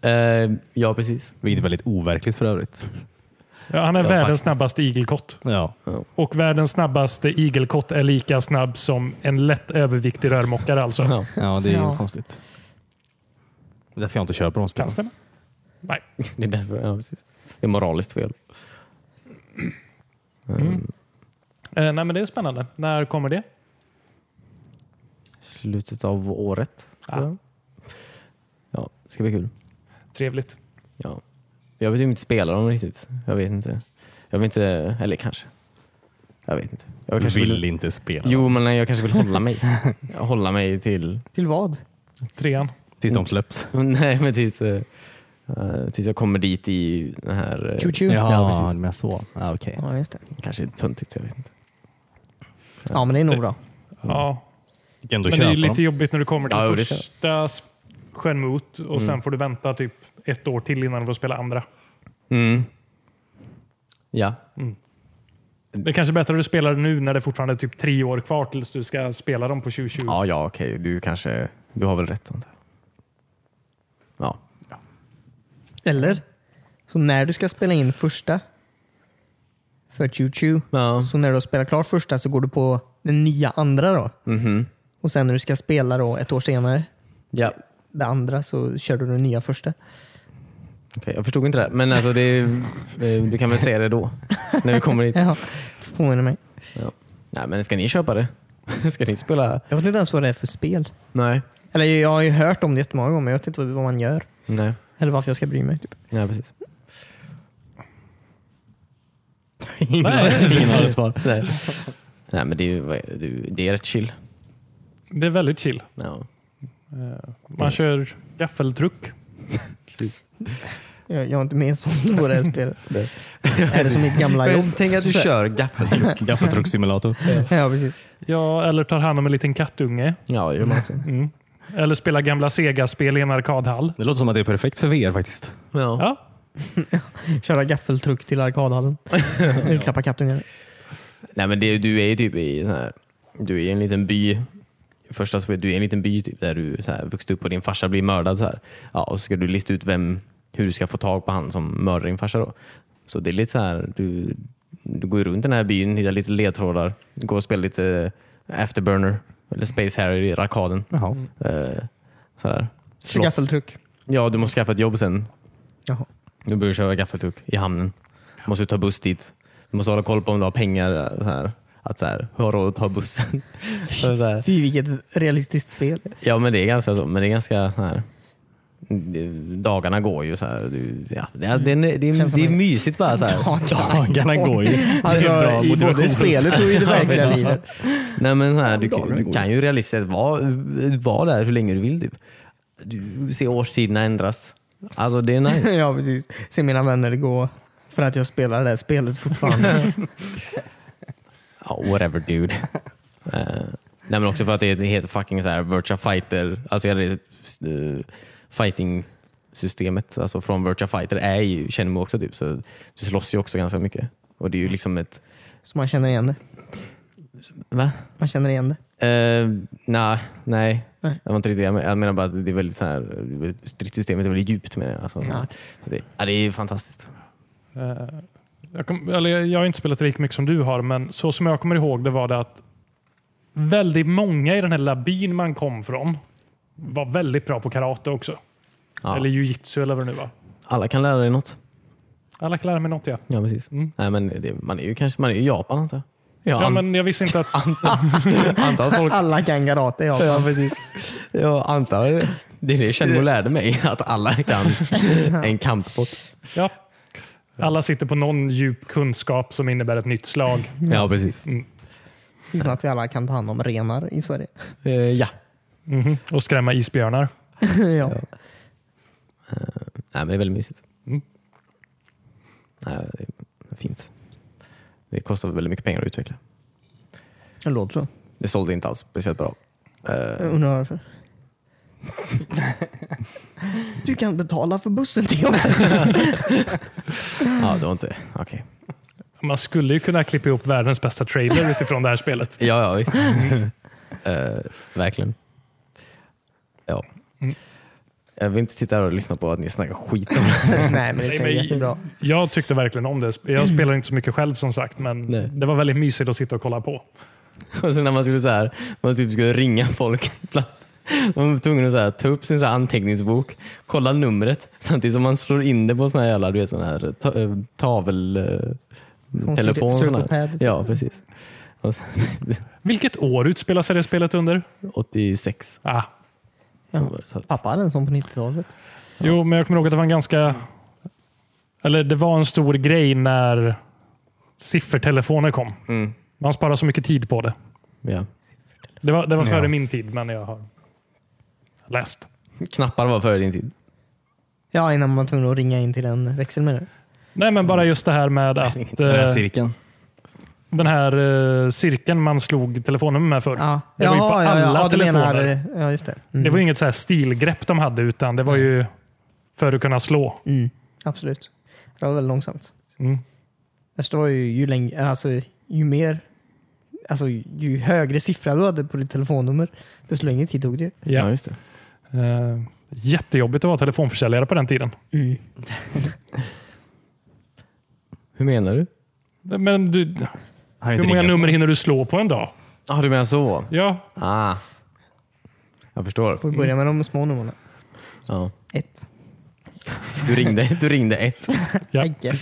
S1: Eh, ja, precis.
S3: Vilket är väldigt overkligt för övrigt.
S4: Ja, han är
S1: Ja,
S4: världens
S1: faktiskt.
S4: snabbaste igelkott.
S3: Ja.
S4: Och världens snabbaste igelkott är lika snabb som en lätt överviktig rörmokare alltså.
S1: Ja.
S3: ja, det är
S2: Ja.
S3: ju konstigt. Det är därför jag inte kör på de
S4: Kan
S3: spelen.
S4: stämma. Nej.
S1: Det är därför. Ja, precis. Det är moraliskt fel.
S4: Eh, nej, men det är spännande. När kommer det?
S1: Slutet av året. tror
S4: Ja.
S1: jag. Ja, det ska bli kul.
S4: Trevligt.
S1: Ja. Jag vill typ inte spela dem riktigt. Jag vet inte. Jag vill inte, eller kanske. Jag vet inte. Jag
S3: Jag
S1: kanske
S3: vill inte spela.
S1: Jo, men nej, jag kanske vill hålla mig. hålla mig till...
S2: Till vad?
S4: Trean.
S3: Tills de släpps.
S1: Nej, men tills, eh, eh, tills jag kommer dit i den här... eh,
S2: Choo-choo.
S1: Ja, precis.
S3: men så. Ja, okej.
S2: Ja, just det.
S1: Kanske är töntigt, jag vet inte.
S2: Ja, men det är nog bra.
S4: Ja.
S3: Du kan ändå
S4: Men det är
S3: köpa
S4: ju lite
S3: dem.
S4: jobbigt när du kommer till
S1: Ja, jo, det
S4: första skärmot och sen får du vänta typ ett år till innan du får spela andra.
S1: Mm. Ja.
S4: Det är kanske bättre att du spelar nu när det fortfarande är typ tre år kvar tills du ska spela dem på 2020.
S1: Ja, ja, okej. Du kanske... Du har väl rätt, antar jag. Ja.
S2: Eller? Så när du ska spela in första för Choo-Choo,
S1: Ja.
S2: så när du har spelat klart första så går du på den nya andra då. Och sen när du ska spela då ett år senare,
S1: Mm-hmm. ja.
S2: det andra, så kör du den nya första.
S1: Okej, jag förstod inte det här. Men alltså, det, är- eh, du kan väl säga det då? När vi kommer hit.
S2: Ja, får påminna mig.
S1: Ja. Nej, men ska ni köpa det? Ska ni spela?
S2: Jag vet inte ens vad det är för spel.
S1: Nej.
S2: Eller jag har ju hört om det jättemånga gånger, men jag vet inte vad man gör.
S1: Nej,
S2: Eller varför jag ska bry mig. Typ.
S1: Nej precis.
S3: Ingen har- ingen har ett svar.
S1: Nej. Nej, men det är, ju, vad är- det är ju- det är rätt chill.
S4: Det är väldigt chill.
S1: Ja.
S4: Man
S1: Mm.
S4: kör gaffeltruck.
S2: Jag, jag har inte med sånt på det här spelet. Är det som mitt gamla jobb?
S1: Tänk att du kör gaffeltruck.
S3: Gaffeltruckssimulator.
S2: Ja, precis.
S4: Ja, eller tar hand om en liten kattunge.
S1: Ja, det gör man också.
S4: Mm. Eller spelar gamla Sega-spel i en arkadhall.
S3: Det låter som att det är perfekt för VR faktiskt.
S1: Ja.
S4: Ja,
S2: Köra gaffeltruck till arkadhallen. Klappa kattungar.
S1: Nej, men det, du är ju typ i sån här, du är i en liten by. Första spelet, du är i en liten by typ, där du så här, vuxit upp och din farsa blir mördad. Så här. Ja, och så ska du lista ut vem, hur du ska få tag på han som mördar din farsa. Då. Så det är lite så här, du, du går ju runt den här byn, hittar lite ledtrådar, går och spelar lite eh, Afterburner eller Space Harry i arkaden.
S3: Jaha.
S1: Eh, så här.
S2: Så
S1: Slåss.
S2: Gaffeltruck.
S1: Ja, du måste skaffa ett jobb sen.
S2: Jaha.
S1: Du börjar köra gaffeltruck i hamnen. Du måste ta buss dit. Du måste hålla koll på om du har pengar. eh, Så här. Att så här, har råd att ta bussen. Så så här.
S2: Fy vilket realistiskt spel.
S1: Ja men det är ganska så. Men det är ganska så här. det- Dagarna går ju så här. Du, ja, det, är, det, är, det,
S2: Känns
S1: är,
S2: som
S1: det är
S2: en-
S1: mysigt bara så här.
S3: Dagarna går ju.
S2: Alltså, i både spelet och i det verkliga livet.
S1: Nej, men så här, du,
S3: dagarna
S1: du
S3: går
S1: kan ju realistiskt sett vara, vara där hur länge du vill. Typ. Du ser årstiderna ändras. Alltså det är nice.
S2: Ja, precis. Se mina vänner gå för att jag spelar det här spelet fortfarande.
S1: Ja, whatever dude. Eh, nej men också för att det heter fucking så här Virtua Fighter, alltså hela det eh, fighting-systemet alltså från Virtua Fighter är ju Shenmue också typ, så du slåss ju också ganska mycket. Och det är ju liksom ett...
S2: Så man känner igen det.
S1: Va?
S2: Man känner igen det.
S1: Eh, nej, nej.
S2: Nej.
S1: Det var inte riktigt det jag menade. Jag menar bara att det är väldigt så här, stridssystemet är väldigt djupt menar jag. Alltså,
S2: Ja.
S1: så det, ja, det är ju fantastiskt.
S4: Eh, Jag, kom, eller jag- jag har inte spelat lika mycket som du har, men så som jag kommer ihåg det var det att väldigt många i den här lilla byn man kom från var väldigt bra på karate också.
S1: Ja.
S4: Eller jujitsu eller vad det nu var.
S1: Alla kan lära dig något.
S4: Alla kan lära mig något ja.
S1: Ja, precis.
S4: Mm.
S1: Nej, men det, man är ju kanske man är ju i Japan antar jag.
S4: ja men jag visste inte att...
S1: Antar att folk
S2: Alla kan karate i Japan.
S1: precis. Jag antar det. Det är det Shenmue lärde mig, att alla kan en kampsport.
S4: Ja, alla sitter på någon djup kunskap som innebär ett nytt slag.
S1: Ja, precis.
S2: Det är som att vi alla kan ta hand om renar i Sverige.
S1: Eh, ja.
S4: Mhm. Och skrämma isbjörnar.
S2: ja.
S1: Nej, men det är väldigt mysigt.
S4: Mm.
S1: Nej, det är fint. Det kostar väldigt mycket pengar att utveckla.
S2: Det låter så.
S1: Det sålde inte alls speciellt bra. Eh,
S2: Jag undrar varför. Du kan betala för bussen till mig.
S1: ja, det var inte... Okej.
S4: Man skulle ju kunna klippa ihop världens bästa trailer utifrån det här spelet.
S1: Ja, ja, visst. Eh, verkligen. Ja. Jag vill inte sitta här och lyssna på att ni snackar skit om det.
S2: Nej, men det
S4: Nej,
S2: är
S4: men-
S2: jättebra.
S4: Jag tyckte verkligen om det. Jag spelar inte så mycket själv som sagt, men
S1: Mm. Nej.
S4: det var väldigt mysigt att sitta och kolla på.
S1: Och sen när man skulle, så här, man typ skulle ringa folk ibland. Man var tvungen att så här, ta upp sin så här anteckningsbok, kolla numret samtidigt som man slår in det på sån här jävla du vet, sån här ta, eh, tavel... eh,
S2: Sån
S1: Telefon och
S2: circle-
S1: sån här.
S2: circle pad.
S1: Ja, precis. Och sen,
S4: Vilket år utspelar sig det spelet under?
S1: 86.
S4: Ah.
S2: Ja.
S1: Så att,
S2: Pappa hade en sån på 90-talet.
S4: Jo, men jag kommer ihåg att det var en ganska... Eller det var en stor grej när siffertelefoner kom.
S1: Mm.
S4: Man sparar så mycket tid på det.
S1: ja.
S4: Det var, det var före min tid, men jag har läst.
S1: Knappar var före din tid.
S2: Ja, innan man var tvungen att ringa in till en växel med det.
S4: Nej, men bara just det här med att eh,
S3: Den här cirkeln.
S4: den här eh, cirkeln man slog telefonen med förr.
S2: Ja.
S4: Det var ju på
S2: Jaha, ja,
S4: alla
S2: ja, ja, du
S4: telefoner.
S2: menar, ja, just det. Mm.
S4: Det var ju inget så här stilgrepp de hade, utan det var ju för att kunna slå.
S2: Mm. Absolut. Det var väldigt långsamt.
S4: Mm.
S2: Värsta var ju ju längre, alltså ju mer, alltså ju högre siffra du hade på ditt telefonnummer, desto längre tid tog det ju.
S4: Ja.
S1: just det.
S4: Eh, jättejobbigt att vara telefonförsäljare på den tiden.
S1: Hur menar du?
S4: Men du,
S3: Han är
S4: hur
S3: inte
S4: många
S3: ringa-
S4: nummer hinner du slå på en dag?
S1: Ah, du menar så?
S4: Ja,
S1: Ah. Jag förstår.
S4: Mm.
S2: Får vi börja med de små numren?
S1: Ja.
S2: Ett.
S1: Du ringde, du ringde ett.
S4: Ja.
S2: Hagge.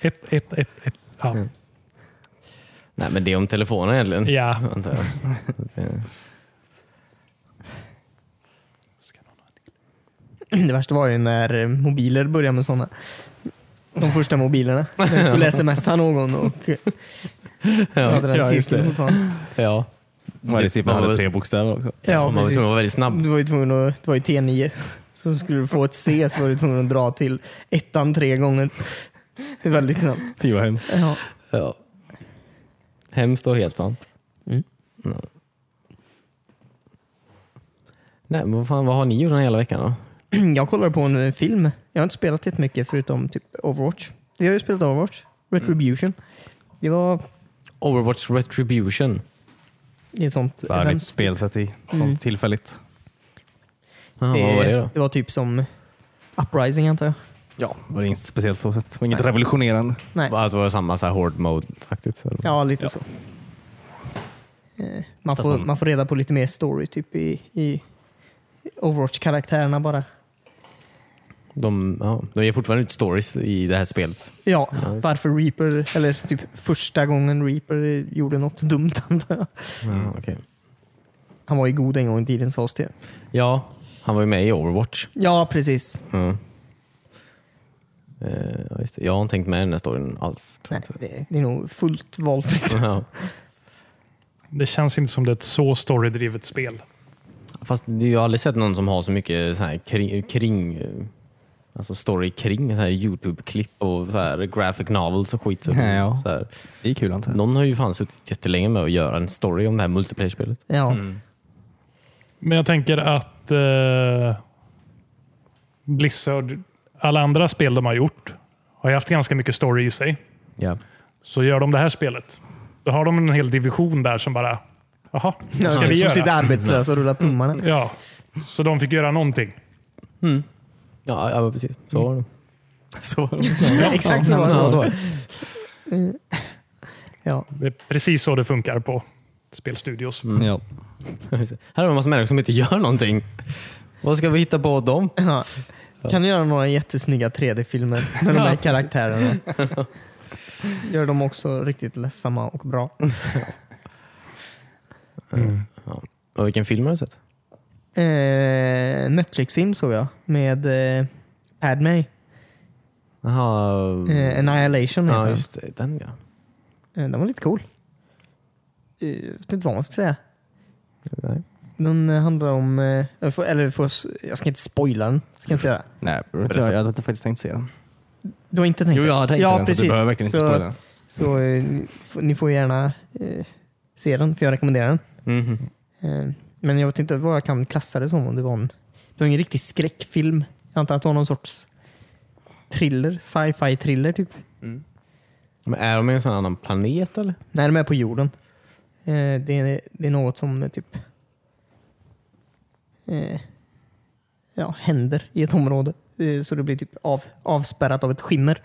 S4: Ett, ett, ett, ett. Ja.
S2: Mm.
S1: Nej, men det är om telefonen egentligen.
S4: ja.
S1: Antar jag. Det-
S2: Det värsta var ju när eh, mobiler började med sådana. De första mobilerna. När du skulle smsa någon och eh,
S1: Ja,
S2: hade den
S1: ja, just
S2: cirkeln
S1: det.
S2: fortfarande.
S1: Ja.
S3: Varje siffra
S1: Man var-
S3: hade tre bokstäver också.
S2: Ja,
S1: man var
S2: precis.
S1: tvungen att vara väldigt snabb.
S2: Du var ju tvungen att, det var ju T9. Så skulle du få ett C så var du tvungen att dra till ettan tre gånger. Det är väldigt snabbt.
S3: Fy vad hemskt.
S2: Ja.
S1: Ja. Hemskt och helt sant.
S2: Mm.
S1: Ja. Nej, men vad, fan, vad har ni gjort den här hela veckan då?
S2: Jag kollar på en film. Jag har inte spelat jättemycket förutom typ Overwatch. Jag har ju spelat Overwatch. Retribution. Det var
S1: Overwatch Retribution.
S2: ett sånt
S3: Bara nytt
S2: event.
S3: spelsätt i sånt
S2: Mm.
S3: tillfälligt.
S1: Jaha, vad var det då?
S2: det var typ som Uprising antar jag.
S3: Ja, det var inget speciellt så sett. Det var inget revolutionerande.
S2: Nej.
S1: Alltså var det samma så här hård mode faktiskt? eller?
S2: Ja, lite så. Eh, Man
S1: Fast
S2: får,
S1: man-
S2: man får reda på lite mer story typ i, i Overwatch-karaktärerna bara.
S1: De, ja, de ger fortfarande ut stories i det här spelet.
S2: Ja, varför Reaper, eller typ första gången Reaper gjorde något dumt antar jag.
S1: Ja, okej.
S2: Han var ju god en gång i tiden sades det.
S1: ja, han var ju med i Overwatch.
S2: Ja, precis.
S1: Mm. Eh, ja, just det. Jag har inte tänkt med den här storyn alls. Tror
S2: Nej,
S1: jag inte.
S2: det, det är nog fullt valfritt.
S1: Ja.
S4: Det känns inte som det är ett så storydrivet spel.
S1: Fast det- jag har aldrig sett någon som har så mycket så här kring, kring eh, alltså story kring så här Youtube-klipp och så här graphic novels och skit. Så
S3: Ja, ja.
S1: så här.
S3: Det är kul antar jag.
S1: Någon har ju fan suttit jättelänge med att göra en story om det här multiplayer-spelet.
S2: Ja.
S4: Men jag tänker att eh, Blizzard, alla andra spel de har gjort, har ju haft ganska mycket story i sig.
S1: Ja.
S4: Så gör de det här spelet. Då har de en hel division där som bara, jaha, vad ska
S2: som
S4: vi
S2: sitter
S4: göra?
S2: arbetslös och rullar tummarna.
S4: Ja, så de fick göra någonting.
S1: Ja, ja, precis. Så var det.
S3: Så,
S2: Exakt så var
S1: Ja, så
S2: det.
S1: var det.
S2: Eh, Ja.
S4: Det är precis så det funkar på spelstudios.
S2: Mm.
S3: ja.
S1: Här har vi en massa människor som inte gör någonting. Vad ska vi hitta på dem?
S2: Ja. Kan du göra några jättesnygga 3D-filmer med de här karaktärerna? Gör dem också riktigt ledsamma och bra.
S1: Och vilken film har du sett?
S2: Eh, Netflix-film såg jag med eh, Padme.
S1: Jaha...
S2: Eh, Annihilation heter
S1: ja,
S2: den.
S1: just det. Den ja.
S2: Eh, den var lite cool. Eh, jag vet inte vad man ska säga.
S1: Nej.
S2: Den eh, handlar om... Eh, jag får, eller får, jag ska inte spoila den. Ska jag inte göra.
S3: Nej, jag, jag hade faktiskt tänkt se den.
S2: Du har inte tänkt
S3: Jo, jag har tänkt
S2: ja,
S3: se den så
S2: precis.
S3: du behöver verkligen inte
S2: så,
S3: spoila den.
S2: så, eh, ni får- ni får gärna eh, se den, för jag rekommenderar den.
S1: Mhm.
S2: Eh, men jag vet inte vad jag kan klassa det som. Om det var en, det var ingen riktig skräckfilm. Jag antar att det var någon sorts thriller, sci-fi thriller typ.
S1: Mm. Men är de i en sån annan planet eller?
S2: Nej, de är på jorden. Eh, det, är, det är något som eh, typ eh, ja, händer i ett område. Eh, så det blir typ av, avspärrat av ett skimmer.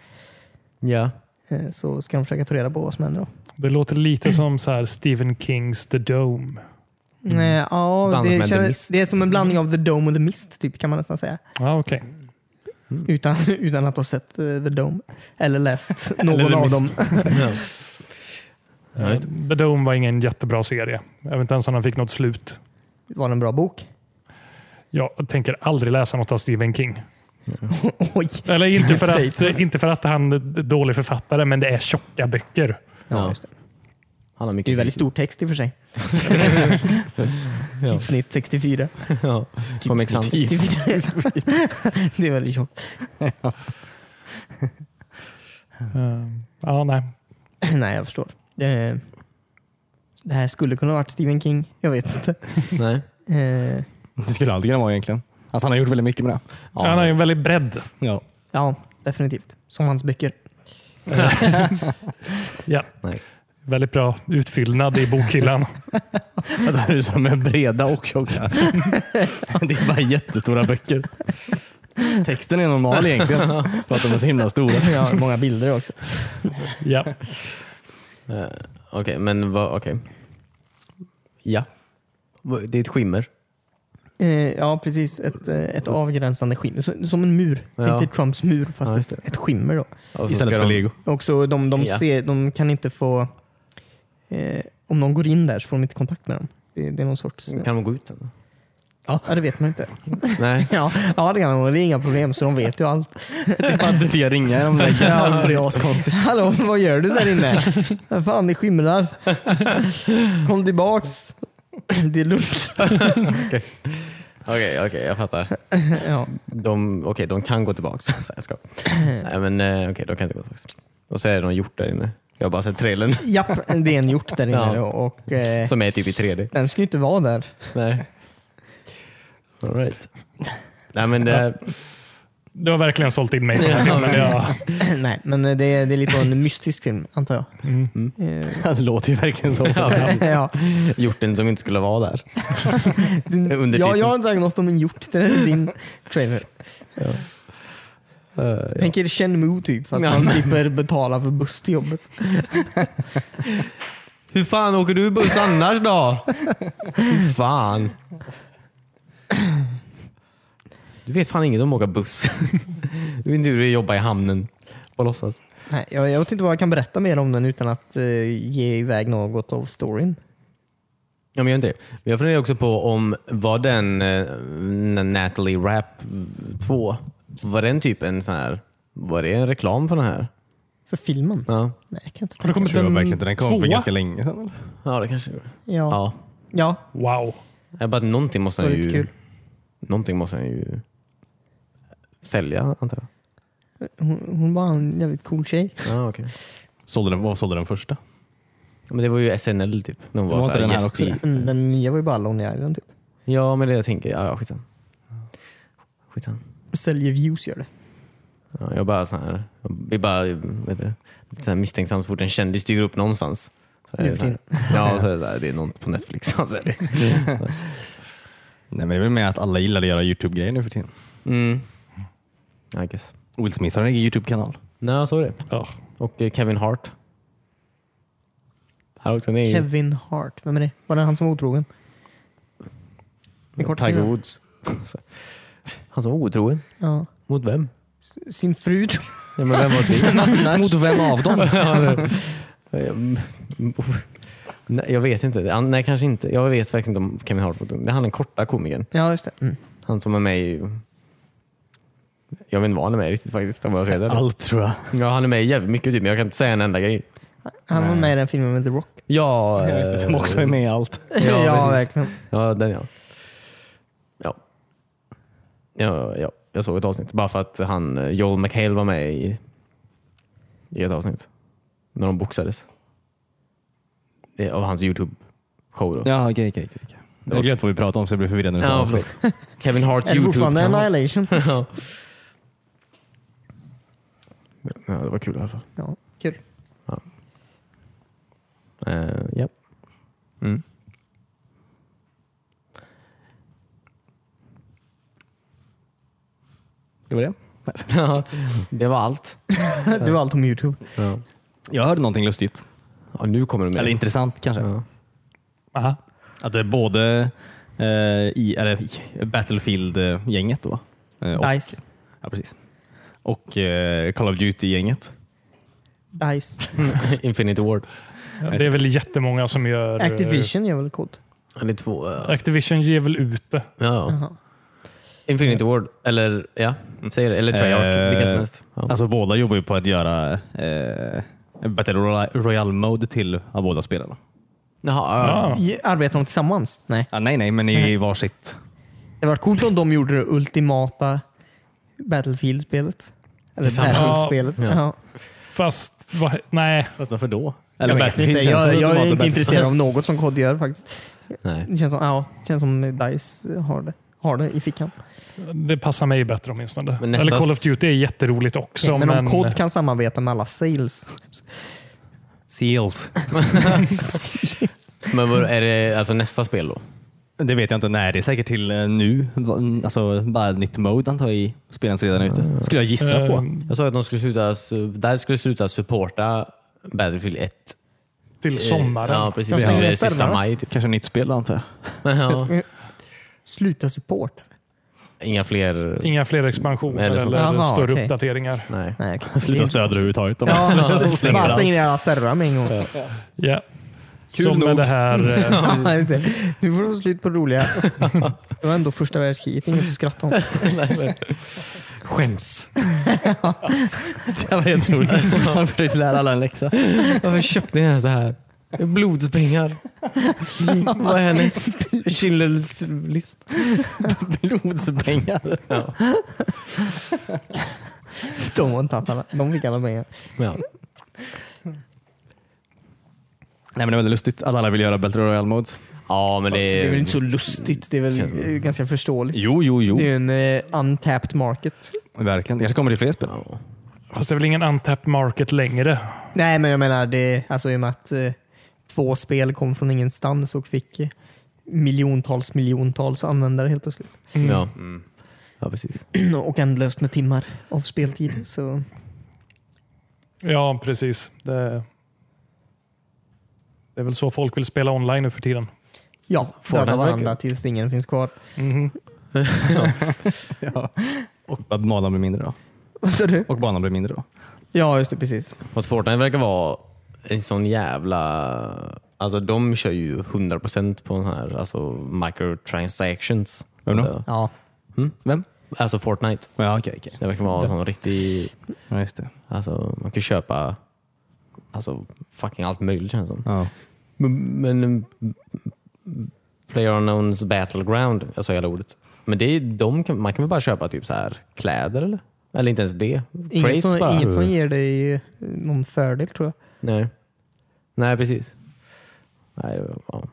S1: Ja.
S2: Eh, så ska de försöka ta reda på vad som händer då.
S4: Det låter lite som så här Stephen Kings The Dome.
S2: Eh, ja,
S1: Mm. Blandat med
S2: det,
S1: The
S2: känns,
S1: Mist.
S2: det är som en blandning av The Dome och The Mist typ, kan man nästan säga.
S4: Ja, okej.
S2: Utan, utan att ha sett eh, The Dome. Eller läst någon
S3: The
S2: av
S3: Mist.
S2: dem.
S1: ja. Ja, just
S4: The Dome var ingen jättebra serie. Jag vet inte ens om den fick något slut.
S2: Var det en bra bok?
S4: Jag tänker aldrig läsa något av Stephen King.
S2: Oj!
S4: Eller inte för, att,
S2: Statement.
S4: inte för att han är en dålig författare, men det är tjocka böcker.
S1: Ja.
S2: Ja, just det.
S1: Han har
S2: det är
S1: mycket
S2: ju väldigt
S1: film.
S2: stor text i och för sig. Typ snitt 64.
S1: Ja.
S2: Typ
S1: Comic Sans.
S2: det är väldigt tjockt. Mm.
S4: Ehm, ja, nej.
S2: Nej, jag förstår. Det, det här skulle kunna ha varit Stephen King. Jag vet inte.
S1: Nej.
S2: Eh,
S3: Det skulle alltid kunna vara egentligen. Alltså, han har gjort väldigt mycket med det.
S4: Han har ju en väldigt bredd.
S3: Ja.
S2: Ja, definitivt. Som hans böcker.
S4: Ja,
S1: Nej.
S4: väldigt bra utfyllnad i bokhyllan.
S3: Det här är som är breda och tjocka. Det är bara jättestora böcker. Texten är normal egentligen. För att de är så himla stora.
S2: Ja, många bilder också.
S4: ja.
S1: Eh, Okej, men vad... Okej. Ja. Va- Det är ett skimmer.
S2: Eh, ja, precis. Ett, eh, ett avgränsande skimmer. Så, som en mur.
S1: Ja.
S2: Tänk dig Trumps mur, fast
S1: Ja, just
S2: ett, ett skimmer. då.
S1: Och så
S3: Istället
S1: ska
S3: för
S1: de-
S3: lego.
S2: Och så de, de,
S1: Ja.
S2: ser, de kan inte få... Eh, om någon går in där så får de inte kontakt med dem. Det, det är någon sorts... eh,
S1: Kan de gå ut sen? då?
S2: Ja, det vet man inte.
S1: Nej.
S2: Ja, ja det kan de. Det är inga problem, så de vet ju allt.
S3: Det är bara att du inte kan ringa genom väggen. Det blir askonstigt.
S2: Hallå, vad gör du där inne? Vad Fan, det skimrar. Kom tillbaks. Det är lunch.
S1: Okej, okej, jag fattar.
S2: Ja.
S1: De, okej, de kan gå tillbaka. Så jag ska. Nej, men eh, okej, de kan inte gå tillbaka. Och så är det någon hjort där inne. Jag har bara sett trailern
S2: Japp, det är en hjort där inne.
S1: Ja.
S2: Och, och, eh,
S1: som är typ i 3D.
S2: den ska ju inte vara där.
S1: Nej. All right. Nej, men eh, det,
S4: Du har verkligen sålt in mig på den här filmen. Ja.
S2: Nej, men eh, det är, det är lite av en mystisk film, antar jag.
S4: Mm.
S2: Eh,
S3: Det låter ju verkligen så.
S2: ja.
S1: hjorten som inte skulle vara där.
S2: Din,
S1: Undertiteln.
S2: ja, jag har inte sagt något om en hjort. Det är din trailer.
S1: Eh,
S2: Tänk er Chenmu typ, fast
S1: Ja.
S2: man slipper betala för buss till jobbet.
S1: Hur fan åker du buss annars då? Hur fan? Du vet fan inget om att åka buss. Du vet inte hur det är att jobba i hamnen. Bara låtsas.
S2: Nej, jag, jag vet inte vad jag kan berätta mer om den utan att eh, ge iväg något av storyn.
S1: Ja, men gör inte det. Men jag funderar också på om var den eh, n- Natalie Rap 2, var den typ en sån här, var det en reklam för den här?
S2: För filmen?
S1: Ja,
S2: Nej, jag kan inte
S4: Har
S2: tänka.
S4: det kommit
S3: Jag tror
S4: en
S3: verkligen inte den kom för
S4: tvåa?
S3: ganska länge sedan. eller?
S1: ja det kanske det var.
S2: Ja.
S1: Ja.
S2: ja,
S4: Wow.
S1: Jag bara, någonting måste
S2: det var
S1: han
S2: lite
S1: ju,
S2: kul.
S1: någonting måste han ju sälja antar jag.
S2: Hon, hon var en jävligt cool tjej.
S1: Ja, okay.
S3: Sålde den, vad sålde den första?
S1: Men det var ju SNL typ. När hon
S3: Det
S1: var,
S3: var
S1: så
S3: inte
S1: här
S3: den här
S1: gäst
S3: också,
S1: i-
S3: det?
S2: Mm, Den nya var ju bara Lonely Island typ.
S1: Ja, men det jag tänker. Ja, ja skitsamma. Skitsamma.
S2: Säljer views gör det.
S1: Ja, jag bara så här, jag blir bara vet du, lite så här misstänksam så fort en kändis dyker upp någonstans. Så är det så här, ja, så är det, så här, det är någon på Netflix. Så är det.
S3: Nej, men det är väl med att alla gillar att göra Youtube-grejer nu för tiden.
S1: Mm. I guess.
S3: Will Smith har en egen Youtube-kanal.
S1: Mm. Nej, så är det.
S4: Ja.
S1: Och eh, Kevin Hart. Här också. Nej,
S2: Kevin Hart, vem är det? Var det han som var otrogen? Det är kort
S1: Tiger
S2: innan.
S1: Woods. Han som var otrogen.
S2: Ja.
S1: Mot vem?
S2: Sin fru tror
S1: Ja, men vem var det?
S2: jag annars.
S3: Mot vem av dem?
S1: Nej, jag vet inte. Han- Nej, kanske inte. Jag vet faktiskt inte om Kevin Hart. var otrogen. Det är han den korta komikern.
S2: Ja, just det. Mm.
S1: Han som är med i... Jag vet inte vad han är med i riktigt faktiskt. Om jag säger det.
S3: Allt tror jag.
S1: Ja, han är med i jävligt mycket typ, men jag kan inte säga en enda grej.
S2: Han var med i den filmen med The Rock.
S1: Ja,
S3: Ja, just det, Som också är med i allt.
S1: Ja, precis.
S2: verkligen.
S1: ja den ja. ja. Ja, ja. Jag såg ett avsnitt bara för att han, eh, Joel McHale var med i, i ett avsnitt. När de boxades. Det, av hans YouTube-show då.
S3: Ja, okej, okej. okej, okej. Jag har glömt vad vi pratade om så jag blev förvirrad nu.
S1: Ja,
S3: Ja,
S1: förlåt. Kevin Harts
S2: Är det fortfarande
S1: YouTube-kanal.
S2: Annihilation?
S1: ja. ja, det var kul i alla fall.
S2: Ja, kul.
S1: Eh, ja. Mm.
S3: det var det.
S1: Ja, det var allt.
S2: Det var allt om Youtube.
S1: Ja.
S3: Jag hörde någonting lustigt.
S1: nu kommer du med
S3: Eller intressant kanske.
S1: Ja.
S4: Aha.
S3: Att det är både eh, i, eller, i Battlefield-gänget då. Eh, och,
S2: Dice.
S3: ja, precis. och eh, Call of Duty-gänget.
S2: Dice.
S1: Infinity Ward.
S4: Det är väl jättemånga som gör... eh,
S2: Activision gör väl kod?
S1: Det är två. eh,
S4: Activision ger väl ut det.
S1: Ja.
S2: Jaha.
S1: Infinity Ward, eller ja, säger det. Eller Treyarch,
S3: Eh,
S1: vilka som helst. Ja.
S3: Alltså båda jobbar ju på att göra eh, Battle Royale- Royale-mode till av båda spelarna.
S1: Jaha, ja.
S4: Ja.
S2: Ge- Arbetar de tillsammans? Nej.
S3: Ah, nej, nej, men i varsitt.
S2: Det var coolt om de gjorde det ultimata Battlefield-spelet. Eller
S1: Tillsammans.
S2: Battlefield-spelet.
S1: Ja.
S2: Ja.
S4: Fast, vad, nej.
S3: Fast Alltså, varför då?
S2: Jag vet inte. Jag, jag är inte intresserad av
S3: något.
S2: något som kod gör faktiskt.
S1: Nej.
S2: Det känns som, ja, det känns som Dice har det, har det i fickan.
S4: Det passar mig bättre åtminstone.
S1: Men nästa-
S4: Eller Call of Duty är jätteroligt också.
S2: men om
S4: men
S2: kod kan samarbeta med alla sales.
S3: Seals.
S1: Men vad är det alltså nästa spel då?
S3: Det vet jag inte. Nej, det är säkert till eh, nu. Va- Alltså bara ett nytt mode antar jag i spelens redan är ute. Skulle jag gissa
S4: eh,
S3: på.
S1: Jag sa att de skulle sluta, su- där skulle sluta supporta Battlefield 1.
S4: till sommaren.
S1: Eh, Ja, precis.
S2: De
S1: Det
S2: stänger
S1: är
S2: ner
S1: sista
S2: servrarna.
S1: maj typ.
S3: Kanske nytt spel antar jag.
S1: Ja.
S2: Sluta supporta.
S1: Inga fler...
S4: Inga fler expansioner
S1: Eller
S4: eller,
S1: sånt.
S2: Jaha,
S4: större
S2: okej.
S4: uppdateringar.
S1: Nej.
S2: Nej, okej.
S3: Sluta stödja överhuvudtaget. De
S2: Ja,
S3: bara stänger
S2: bara stänger
S3: allt.
S2: ner alla servrar med en gång.
S4: Ja.
S3: Kul
S4: Som
S3: nog.
S4: med det här eh,
S2: Ja, just det. Mm. nu får du få slut på det roliga. Det var ändå första världskriget, inget att skratta om.
S1: Skäms.
S3: Det var helt roligt. Han försökte lära alla en läxa.
S1: Varför köpte ni ens det här? Det är Blodets pengar. Vad är härnäst? Schindler's list.
S3: Blodspengar.
S2: De var inte alla, de fick alla pengar.
S1: Ja.
S3: Nej, men det var väldigt lustigt att alla vill göra Battle Royale modes.
S1: ja, men det
S2: Så Alltså, det är väl
S1: är...
S2: inte så lustigt, det är väl
S1: Känns-
S2: eh, ganska förståeligt.
S3: Jo, jo, jo.
S2: Det är ju en eh, untapped market.
S3: Verkligen. Kanske kommer det fler spel.
S4: Fast det är väl ingen untapped market längre?
S2: Nej, men jag menar, det, alltså, i och med att eh, två spel kom från ingenstans och fick eh, miljontals miljontals användare helt plötsligt.
S1: Ja. ja, precis.
S2: och ändlöst med timmar av speltid. Så.
S4: Ja, precis. Det, det är väl så folk vill spela online nu för tiden.
S2: Ja,
S1: Fortnite
S2: döda varandra
S1: verkar-
S2: tills ingen finns kvar.
S4: Mhm.
S3: Ja. Och att banan blir mindre då.
S2: Vad sa du?
S3: Och banan blir mindre då.
S2: Ja, just det. Precis.
S1: Fast Fortnite verkar vara en sån jävla... Alltså de kör ju 100% på den här alltså, microtransactions.
S3: Vem då?
S1: Alltså,
S2: Ja.
S1: Mm? Vem? Alltså Fortnite.
S3: Ja, okej. okej.
S1: Det verkar vara en sån riktig...
S3: Ja, just det.
S1: Alltså man kan köpa alltså, fucking allt möjligt känns det som.
S3: Ja.
S1: Men, men mm, PlayerUnknown's Battleground, jag sa hela ordet. Men det är, de kan, man kan väl bara köpa typ så här kläder eller? Eller inte ens det?
S2: Inget
S1: Crates
S2: som,
S1: bara.
S2: inget som ger dig eh, någon fördel tror jag.
S1: Nej. Nej, precis. Nej, det var- ja.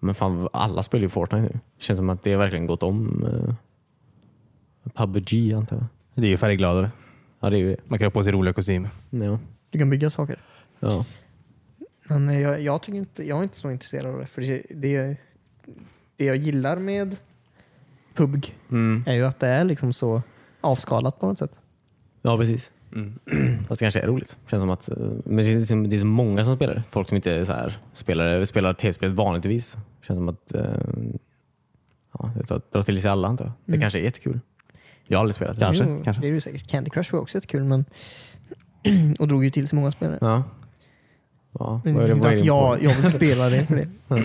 S1: Men fan, alla spelar ju Fortnite nu. Det känns som att det verkligen gått om eh, PubG antar jag.
S3: Det är ju färggladare.
S1: Ja, det är ju det.
S3: Man kan ha på sig roliga kostymer.
S1: Ja.
S2: Du kan bygga saker.
S1: Ja.
S2: Men eh, jag, jag, tycker inte, jag är inte så intresserad av det. För det, det, det jag gillar med PubG
S1: Mm.
S2: är ju att det är liksom så avskalat på något sätt.
S1: ja, precis.
S3: Mm.
S1: Fast det kanske är roligt. Känns som att, eh, men det är, så- det är så många som spelar. Folk som inte är så här, spelar, spelar tv-spel vanligtvis. Känns som att eh, ja, det tar- drar till sig alla antar jag. Det kanske är jättekul. Jag har aldrig spelat det.
S3: Mm. Kanske,
S2: jo,
S3: kanske.
S2: Det är ju säkert. Candy Crush var också ett kul men och drog ju till så många spelare.
S1: Ja. Ja,
S2: Men
S3: Mm,
S1: vad är det,
S2: inte
S1: vad är
S2: att
S1: din
S2: jag,
S1: poäng?
S2: jag vill spela det för det.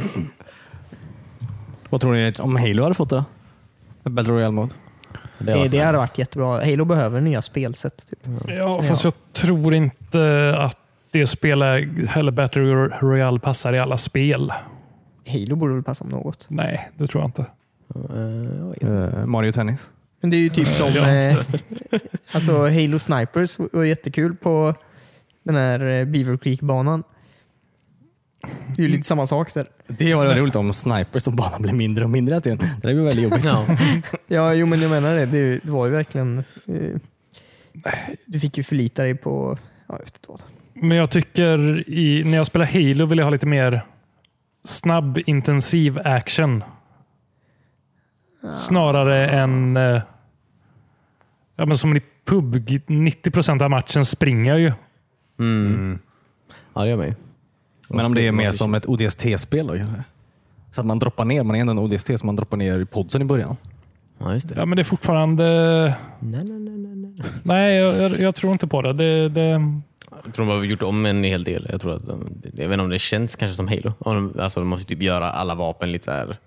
S3: Vad tror ni om Halo hade fått det då? Ett Battle Royale mode?
S1: Det har
S2: Det,
S1: varit
S2: det hade varit jättebra. Halo behöver nya spelsätt. Typ.
S4: Ja, fast jag tror inte att det spelar heller Battle Royale passar i alla spel.
S2: Halo borde väl passa om något.
S4: Nej, det tror jag inte.
S1: Eh, jag vet inte.
S3: Eh, Mario Tennis?
S2: Men det är ju typ som eh, alltså Halo Snipers var jättekul på den här eh, Beaver Creek-banan. Det är ju lite samma sak där.
S3: Det var roligt om snipers som bara blir mindre och mindre hela tiden. Det där blir väldigt jobbigt.
S1: Ja.
S2: Ja, jo men jag menar det. Det, är ju- det var ju verkligen... Eh, du fick ju förlita dig på... Ja, jag vet inte vad.
S4: Men jag tycker i, när jag spelar Halo vill jag ha lite mer snabb, intensiv action. Snarare än eh, ja, men som i PUBG, 90 av matchen springer jag ju.
S1: Ja, det gör man ju.
S3: Mm. Men om det är mer som ett ODST-spel då kanske? Så att man droppar ner, man är ändå en ODST, så man droppar ner i podsen i början.
S1: Ja, just det.
S4: Ja, men det är fortfarande...
S1: Nej, nej, nej, nej, nej.
S4: Nej, jag, jag, jag tror inte på det. det, det
S1: Jag tror de har gjort om en hel del. Jag, tror att de, jag vet inte om det känns kanske som Halo. Om de- Alltså, de måste typ göra alla vapen lite så här,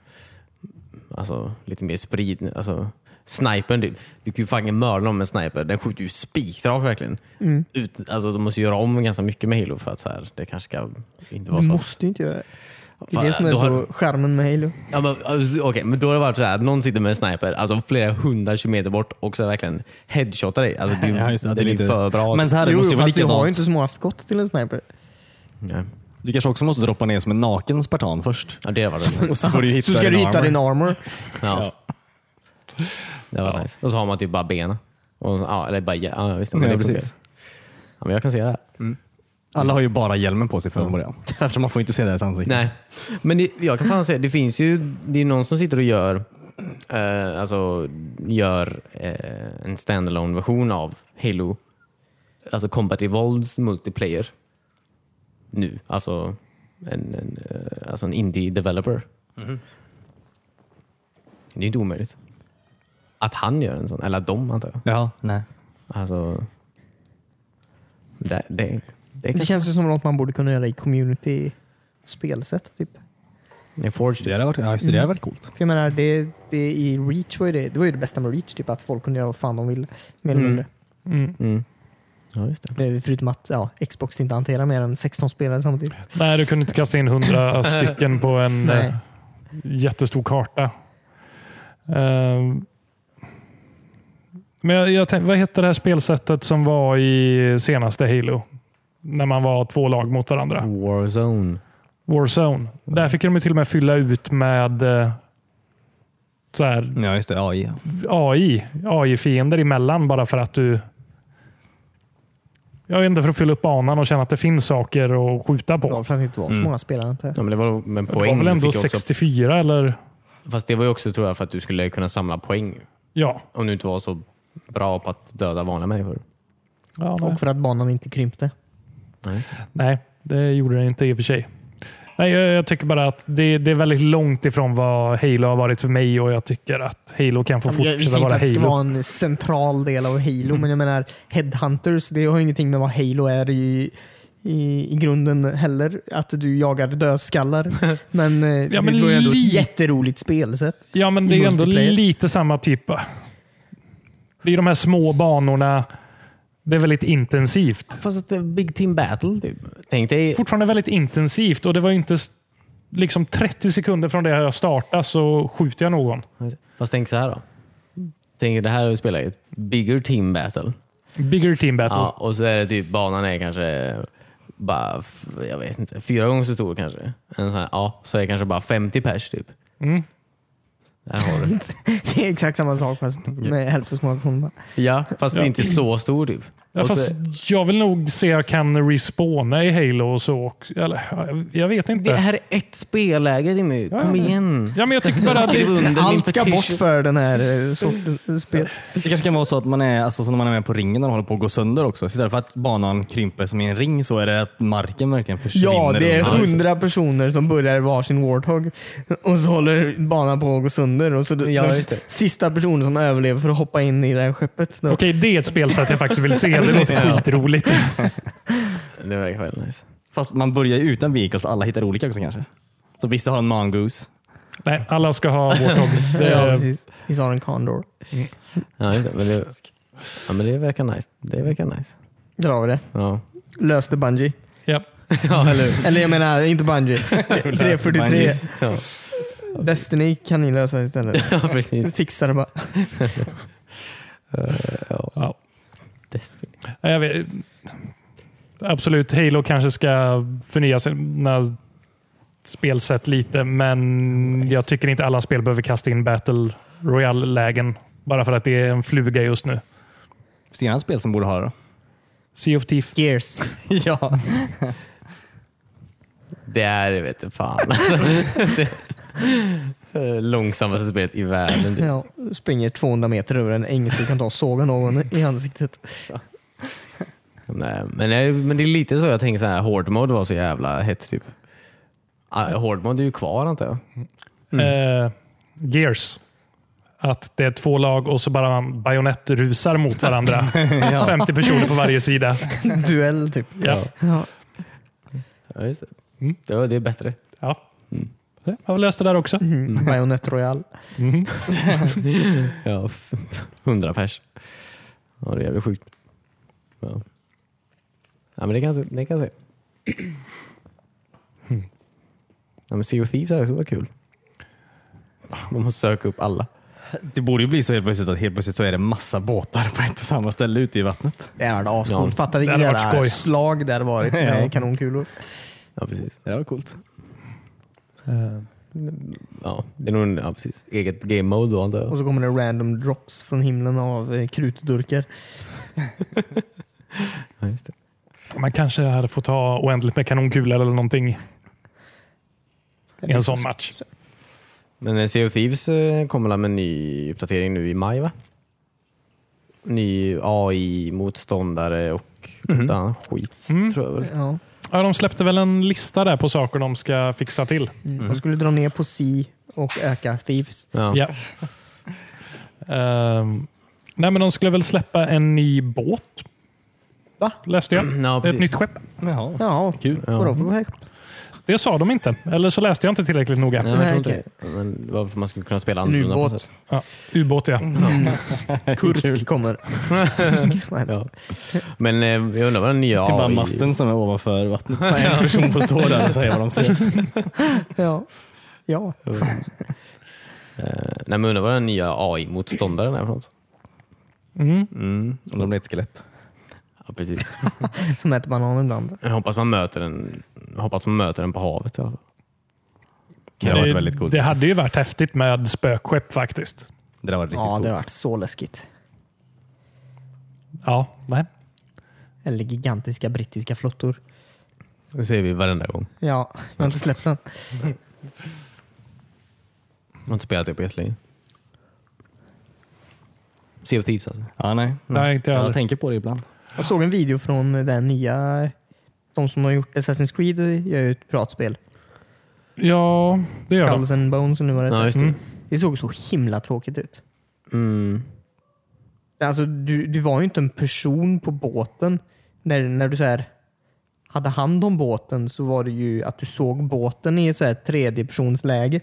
S1: alltså, lite mer sprid. Alltså, snipern, du, du kan ju fucking mörda någon med en sniper. Den skjuter ju spikrakt verkligen.
S2: Mm.
S1: Ut, alltså, de måste göra om ganska mycket med Halo för att så här, det kanske ska inte vara
S2: Du
S1: så.
S2: måste ju inte göra det. Det är
S1: Fan,
S2: det som är
S1: då har-
S2: så charmen med Halo.
S1: Ja, men, alltså, Okej, men då har det varit så här. någon sitter med en sniper alltså flera hundra kilometer bort och så verkligen headshotar dig. Alltså, det,
S3: Ja, just det.
S1: det,
S3: Det är
S1: är ju
S3: lite-
S1: för bra. typ.
S3: Men så här, det
S2: jo,
S3: måste ju vara
S2: fast du har ju
S3: likadant.
S2: inte så många skott till en sniper.
S1: Nej.
S3: Du kanske också måste droppa ner som en naken spartan först.
S1: Ja, det var det.
S3: Och så får du hitta
S2: Så ska
S3: din
S2: du hitta
S3: armor.
S2: din armor.
S1: Ja. Det var nice. Och så har man typ bara benen. Och, ja, eller bara, ja, visst, men
S3: Ja,
S1: det funkar.
S3: precis.
S1: Ja, men jag kan se det här.
S3: Alla har ju bara hjälmen på sig från början. Eftersom man får inte se deras ansikte.
S1: Nej, men det, jag kan fan säga, det finns ju, det är någon som sitter och gör, eh, alltså, gör eh, en standalone version av Halo, alltså Combat Evolveds multiplayer nu, alltså
S3: Mhm.
S1: en, en, eh, alltså en indie developer. Det är inte omöjligt. Att han gör en sån, eller att de antar jag.
S3: Ja, nej.
S1: Alltså, det, det, det,
S2: Det
S1: kanske-
S2: känns ju som något man borde kunna göra i community-spelsätt. Typ.
S1: det är Forge.
S3: Det hade varit, ja, just det, det hade varit coolt.
S2: För jag menar, det, det, i Reach var ju det, det var ju det bästa med Reach, typ att folk kunde göra vad fan de ville. Mer eller
S1: Mm.
S2: mindre.
S4: Mm.
S1: Mm. Ja, just det.
S2: Det är Förutom att ja, Xbox inte hanterar mer än 16 spelare samtidigt.
S4: Nej, du kunde inte kasta in hundra stycken på en
S2: Nej.
S4: eh, jättestor karta. Eh, men jag, jag tänkte, vad hette det här spelsättet som var i senaste Halo? När man var två lag mot varandra.
S1: Mm. Warzone.
S4: Warzone. Där fick de ju till och med fylla ut med eh, så här,
S3: Ja, just det. AI.
S4: AI. AI-fiender emellan bara för att du... Jag vet inte, för att fylla upp banan och känna att det finns saker att skjuta på.
S2: Ja, för att det inte var så
S3: Mm.
S2: många spelare. antar jag.
S1: Ja, men det var men
S4: det var
S1: poäng.
S4: väl
S1: du
S4: ändå
S1: fick ju
S4: 64 eller...
S1: Också, fast det var ju också tror jag för att du skulle kunna samla poäng.
S4: Ja.
S1: Om du inte var så bra på att döda vanliga människor.
S4: ja nej.
S2: Och för att banan inte krympte.
S4: nej, det gjorde det inte i och för sig. Nej, jag, jag tycker bara att det, det är väldigt långt ifrån vad Halo har varit för mig och jag tycker att Halo kan få
S2: Jag jag
S4: fortsätta
S2: visste inte
S4: vara
S2: att det ska
S4: Halo. Mm.
S2: vara en central del av Halo, men jag menar Headhunters, det har ju ingenting med vad Halo är i, i, i grunden heller. Att du jagar dödskallar. men, eh,
S4: Ja, men
S2: det var ju ändå ett
S4: lite-
S2: jätteroligt spelsätt.
S4: Ja, men det är
S2: i
S4: ju ändå
S2: multiplayer.
S4: lite samma typ. Det är de här små banorna. Det är väldigt intensivt.
S1: Fast att det är Big Team Battle typ. Tänk dig
S4: Fortfarande väldigt intensivt och det var ju inte s- liksom 30 sekunder från det jag startade så skjuter jag någon.
S1: Fast tänk så här då. Tänk det här spelar i ett bigger team battle.
S4: Bigger team battle.
S1: Ja, och så är det typ banan är kanske bara, f- jag vet inte, fyra gånger så stor kanske. En sån här, ja, så är det kanske bara 50 pers typ.
S4: Mm.
S1: Där har du.
S2: Det är exakt samma sak fast med hälften så många personer.
S1: Ja, fast
S4: Ja.
S1: inte så stor typ.
S4: Ja,
S1: Och så-
S4: fast jag vill nog se jag kan respawna i Halo och så. också. Eller, ja, jag- jag vet inte.
S1: det här är ett spelläge Jimmy, kom igen.
S4: Ja, men jag tycker bara att
S1: Skriv
S4: det,
S1: under min
S2: Allt ska bort
S1: petition.
S2: för den här eh, sortens spel.
S3: Det kanske kan vara så att man är, alltså, så när man är med på ringen och håller på att gå sönder också. Så Istället för att banan krymper som i en ring så är det att marken verkligen försvinner.
S2: Ja, det är
S3: undan.
S2: hundra personer som börjar varsin Warthog och så håller banan på att gå sönder. Och så
S3: Ja,
S2: den
S3: just det.
S2: sista personen som överlever får hoppa in i det här skeppet. Då.
S4: Okej, det är ett spelsätt jag faktiskt vill se. Det låter skitroligt.
S1: Det verkar väldigt nice.
S3: Fast man börjar ju utan vehicles, alla hittar olika också kanske. Så vissa har en mongoose.
S4: Nej, alla ska ha Warthog. Eh, Det
S2: Ja,
S4: är,
S2: precis. Vi sa en Condor.
S1: Ja, just det, men det, ja, men det verkar nice. Det verkar nice.
S2: Där har vi det.
S1: Ja.
S2: Löste Bungie.
S4: ja.
S1: ja, eller hur?
S2: Eller jag menar, inte Bungie. 343.
S3: Bungie.
S1: Ja.
S2: Destiny kan ni lösa istället.
S1: ja, precis.
S2: Fixa det bara.
S4: Ja.
S1: Destiny.
S4: Nej, Jag vet. Absolut, Halo kanske ska förnya sina spelsätt lite, men jag tycker inte alla spel behöver kasta in Battle Royale-lägen bara för att det är en fluga just nu.
S3: Finns det inga spel som borde ha det då?
S4: Sea of Thief.
S2: Gears.
S3: ja.
S1: Det är det vet du fan. Alltså, det, eh, långsammaste spelet i världen. typ.
S2: Ja, springer 200 meter över en äng så du kan ta och såga någon i ansiktet.
S1: Nej, men, nej, men det är lite så jag tänker så här. Hard mode var så jävla hett typ. Ah, Hard mode är ju kvar antar jag.
S4: eh, Gears. Att det är två lag och så bara man bajonettrusar mot varandra. 50 personer på varje sida.
S2: Duell typ.
S4: Ja.
S2: Ja.
S1: Ja, just det. Det, var, det är bättre.
S4: Ja. Jag har löst det där också.
S2: Mm. Bayonet Royale.
S1: Ja, f- 100 pers. Ja, det är jävligt sjukt. Ja. ja, men det kan, jag- det kan jag se. Ja, men Sea of Thieves hade också varit kul. Man måste söka upp alla.
S3: Det borde ju bli så helt plötsligt att helt plötsligt så är det massa båtar på ett och samma ställe ute i vattnet.
S2: Det hade varit ascoolt.
S1: Ja.
S2: Fatta
S4: Det
S2: vilket
S4: hade varit
S2: jävla
S4: skoj.
S2: slag det hade varit med
S3: Ja.
S2: kanonkulor.
S1: Ja, precis.
S3: Det var coolt.
S1: Ja, det är nog en, ja, precis. eget game mode då antar jag.
S2: Och så kommer det random drops från himlen av eh, krutdurkar.
S1: Ja, just det.
S4: Man kanske hade fått ha oändligt med kanonkulor eller någonting i en sån match.
S1: Men eh, Sea of Thieves eh, kommer väl med en ny uppdatering nu i maj va? Ny AI-motståndare och lite annan skit tror jag väl.
S2: Ja.
S4: Ja, de släppte väl en lista där på saker de ska fixa till.
S2: De Mm. skulle dra ner på Sea och öka Thieves.
S1: Ja.
S4: Ja. Ehm, nej, men de skulle väl släppa en ny båt.
S2: Va?
S4: Läste jag.
S1: ja,
S4: Ett
S1: precis.
S4: nytt skepp.
S3: Jaha.
S2: Ja,
S3: Kul.
S2: vadå för skepp?
S4: Det sa de inte. Eller så läste jag inte tillräckligt noga.
S1: Nej, jag
S2: Nej,
S1: tror inte det. Men det var för att man skulle kunna spela
S2: En
S1: annorlunda. på
S2: ubåt.
S1: sätt.
S4: Ja, ubåt ja.
S2: Mm. Kursk kommer. Kursk, vad hemskt.
S1: Ja. Men eh, jag undrar vad den nya
S3: Det är Typ bara
S1: AI
S3: masten som är ovanför vattnet. Så en person får stå där och säga vad de ser.
S2: ja. ja.
S1: Eh, nej, men undrar vad den nya AI-motståndaren är för något.
S4: Mm.
S3: Mm. Om de blir ett skelett.
S1: Ja, precis.
S2: Som äter banan ibland.
S1: Jag hoppas man möter den, jag hoppas man möter den på havet i alla fall.
S3: Det hade varit väldigt coolt.
S4: det hade ju varit häftigt med spökskepp faktiskt.
S3: Det där var riktigt
S2: Ja, det
S3: coolt.
S2: hade varit så läskigt.
S4: Ja, nej.
S3: Mm.
S2: Eller gigantiska brittiska flottor.
S1: Det säger vi varenda gång.
S2: Ja, jag har inte släppt den.
S1: Man har inte spelat det på jättelänge. Sea of Thieves alltså.
S3: Ja, nej.
S4: Nej, inte jag
S3: jag
S4: heller.
S3: tänker på det ibland.
S2: Jag såg en video från den nya... De som har gjort Assassin's Creed gör ju ett piratspel.
S4: Ja, det gör de.
S2: Skulls and Bones eller vad det
S1: Ja,
S2: heter. Mm.
S1: just det.
S2: Det såg så himla tråkigt ut.
S1: Mm.
S2: Alltså, du, du var ju inte en person på båten. När, när du så här, hade hand om båten så var det ju att du såg båten i ett så här tredjepersonsläge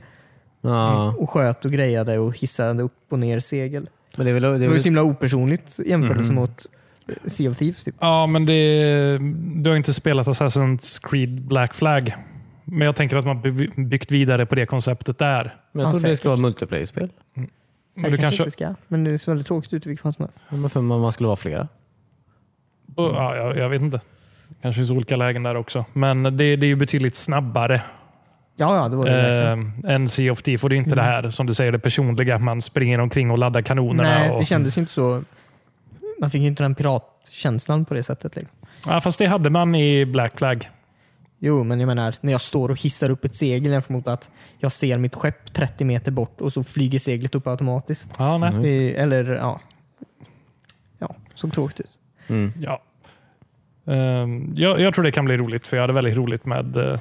S1: Ja,
S2: och sköt och grejade och hissade upp och ner segel.
S1: men det är väl... Det
S2: Det
S1: är
S2: var ju
S1: väl Mhm.
S2: så himla opersonligt i jämförelse mot Sea of Thieves. Typ.
S4: Ja, men det, du har inte spelat Assassin's Creed Black Flag. Men jag tänker att man by- byggt vidare på det konceptet där.
S1: men jag
S2: Ja,
S1: trodde det
S2: säkert.
S1: skulle vara ett multiplayer-spel.
S4: Men du kanske,
S2: inte ska, men det ser väldigt tråkigt ut i vilket fall som helst.
S1: Ja, men för man man skulle vara flera.
S2: Mm.
S4: ja, jag, jag vet inte. kanske finns olika lägen där också. Men det, det är ju betydligt snabbare
S2: Ja, ja, det var det verkligen. Mm.
S4: eh, än Sea of Thief. Och det är inte det här som du säger, det personliga. att Man springer omkring och laddar kanonerna.
S2: Nej,
S4: och, Mm.
S2: det kändes ju inte så. Man fick ju inte den piratkänslan på det sättet. Liksom.
S4: ja, fast det hade man i Black Flag.
S2: Jo, men jag menar när jag står och hissar upp ett segel jämfört mot att jag ser mitt skepp 30 meter bort och så flyger seglet upp automatiskt.
S4: Ja, nej.
S2: Det, eller ja. Ja, såg tråkigt ut.
S4: Ja. Eh, jag, jag tror det kan bli roligt, för jag hade väldigt roligt med eh,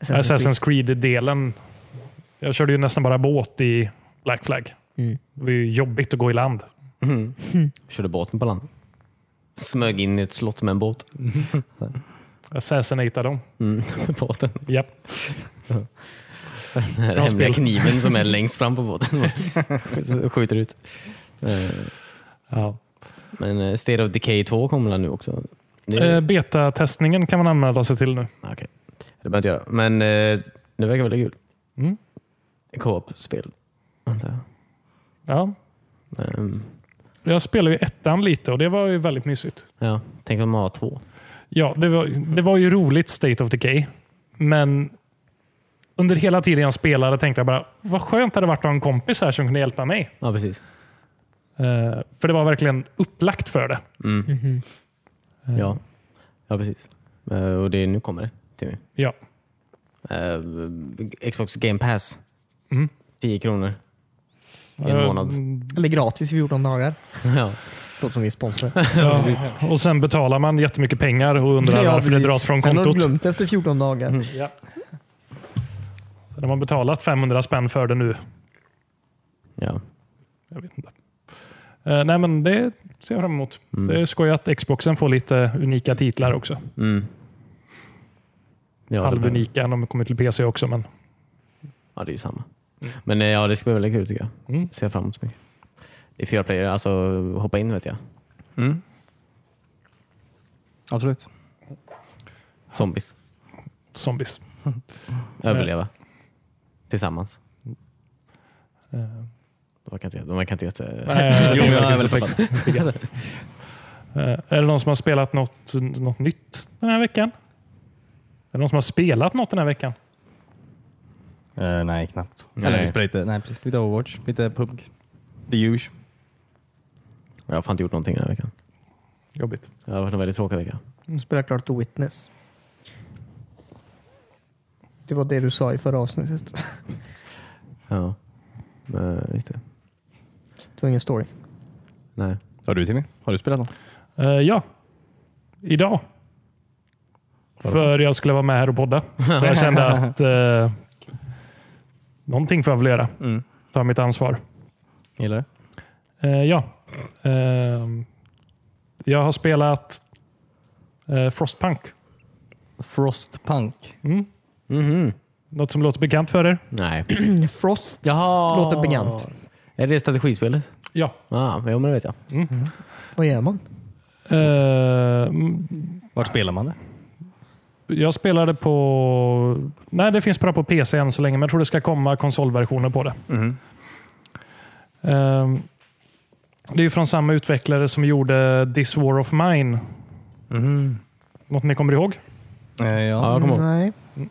S2: Assassin's
S4: Assassin's Creed-delen. Jag körde ju nästan bara båt i Black Flag.
S2: Mm.
S4: Det var ju jobbigt att gå i land.
S1: Mm. Körde båten på land. Mhm. Smög in i ett slott med en båt.
S4: Assassinata dem.
S1: Mm. båten.
S4: Japp.
S1: Den här
S4: Bra
S1: hemliga
S4: spel.
S1: kniven som är längst fram på båten. Så Skjuter ut. Eh,
S4: Ja.
S1: Men eh, State of Decay 2 kommer väl nu också? Det, Ah,
S4: Eh, Beta-testningen kan man anmäla sig till nu.
S1: okej. det behöver inte göra. Men eh, det verkar väldigt kul.
S4: Mm.
S1: Co-op-spel. antar jag.
S4: Ja.
S1: Ehm,
S4: Jag spelade ju ettan lite och det var ju väldigt mysigt.
S1: Ja, tänk om man har två.
S4: Ja, det var, det var ju roligt State of Decay, men under hela tiden jag spelade tänkte jag bara, vad skönt det hade varit att ha en kompis här som kunde hjälpa mig.
S1: Ja, precis.
S4: Eh, för det var verkligen upplagt för det.
S1: Mm.
S2: Mhm.
S1: Ja. ja, precis. Eh, Och det är, nu kommer det till mig.
S4: Ja.
S1: Eh, Xbox Game Pass.
S4: Mm. Eh,
S1: 10 kronor i en månad.
S2: Eller gratis i 14 dagar.
S1: ja.
S2: Låter som vi är sponsrade.
S4: Ja, och sen betalar man jättemycket pengar och undrar
S2: Ja,
S4: varför det
S2: precis.
S4: dras från
S2: Sen har du
S4: kontot.
S2: glömt efter 14 dagar.
S4: Ja. Sen har man betalat 500 spänn för det nu.
S1: ja.
S4: Jag vet inte. Eh, nej, men det ser jag fram emot.
S2: Mm.
S4: Det är skoj att Xboxen får lite unika titlar också.
S1: Mm. Ja, det behöver-
S4: Halvunika, de kommer till PC också. Men
S1: Ja, det är ju samma. Men eh, ja, det ska bli väldigt kul tycker jag.
S4: Mm.
S1: Ser jag fram emot så mycket. Det är fyra player, alltså hoppa in vet jag.
S3: Absolut.
S1: Zombies.
S4: zombies.
S1: Överleva. Tillsammans.
S4: Eh,
S1: De kan inte, de kan inte jätte...
S4: eh,
S3: Jo, men jag är väldigt peppad.
S4: eh, är det någon som har spelat något, något nytt den här veckan? Är det någon som har spelat något den här veckan?
S3: Eh, nej, knappt.
S1: Nej.
S3: Eller vi spelar lite, nej, precis. lite Overwatch, lite PUBG. The Huge.
S1: Jag har fan inte gjort någonting den här veckan.
S4: Jobbigt.
S1: Det har varit en väldigt tråkig vecka.
S2: Nu spelar Mm. jag klart The Witness. Det var det du sa i förra avsnittet.
S1: Ja. Men, just det.
S2: Det var ingen story.
S1: Nej.
S3: Har du Timmy? Har du spelat något?
S4: Eh, ja, idag För jag skulle vara med här och podda. Så jag kände att eh, någonting får jag väl göra.
S3: Mm.
S4: Ta mitt ansvar.
S3: Gillar det?
S4: Eh, ja. Ehm, jag har spelat eh, Frostpunk.
S3: Frostpunk.
S4: Mm.
S1: Mhm.
S4: Något som låter bekant för er?
S1: Nej.
S2: Frost
S1: Jaha.
S2: låter bekant.
S1: Är det strategispelet?
S4: Ja.
S1: Ja, ah, jo men det vet jag.
S2: Vad gör man?
S4: Ehm,
S3: Vart spelar man det?
S4: jag spelade på... Nej, det finns bara på PC än så länge, men jag tror det ska komma konsolversioner på det. Ehm, det är ju från samma utvecklare som gjorde This War of Mine. Något ni kommer ihåg?
S3: Mm-hmm. Eh,
S1: Ja,
S3: ja.
S1: jag kommer ihåg.
S2: Nej.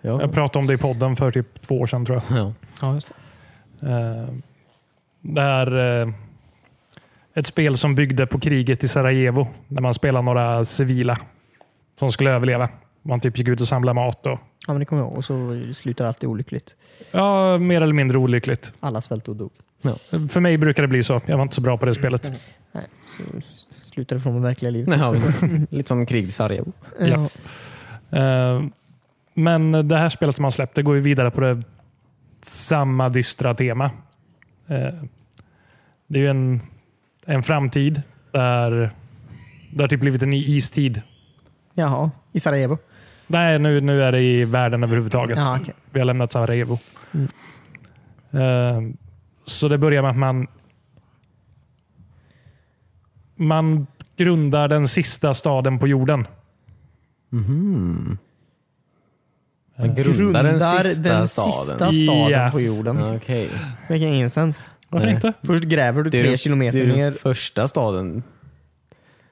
S1: Ja.
S4: Jag pratade om det i podden för typ två år sedan tror jag.
S1: Ja.
S2: Ja, just det.
S4: Eh, Det är eh, ett spel som byggde på kriget i Sarajevo när man spelar några civila som skulle överleva. Man typ gick ut och samlade mat. Och,
S2: Ja, men det kommer jag ihåg. Och så slutar allt olyckligt.
S4: ja, mer eller mindre olyckligt.
S2: Alla svälte och dog.
S4: För mig brukar det bli så. Jag var inte så bra på det spelet.
S2: Slutar från det verkliga livet.
S1: Ja,
S2: också.
S1: lite som krig i Sarajevo.
S2: Ja.
S4: ja. Eh, Men det här spelet man släppt, det går ju vidare på det samma dystra tema. Eh, Det är ju en, en framtid där det har typ blivit en ny istid.
S2: Jaha, i Sarajevo.
S4: Nej, nu, nu är det i världen överhuvudtaget.
S2: Jaha, okej.
S4: Vi har lämnat Sarajevo. Eh, Så det börjar med att man man grundar den sista staden på jorden.
S1: Grundar den sista
S2: den
S1: staden.
S2: sista staden
S4: Ja.
S2: på jorden.
S1: Okej.
S2: Vilken insens.
S4: Varför
S1: Nej.
S4: inte?
S2: Först gräver du
S1: Det är
S2: tre
S1: den- det
S2: kilometer
S1: är den
S2: ner.
S1: första staden.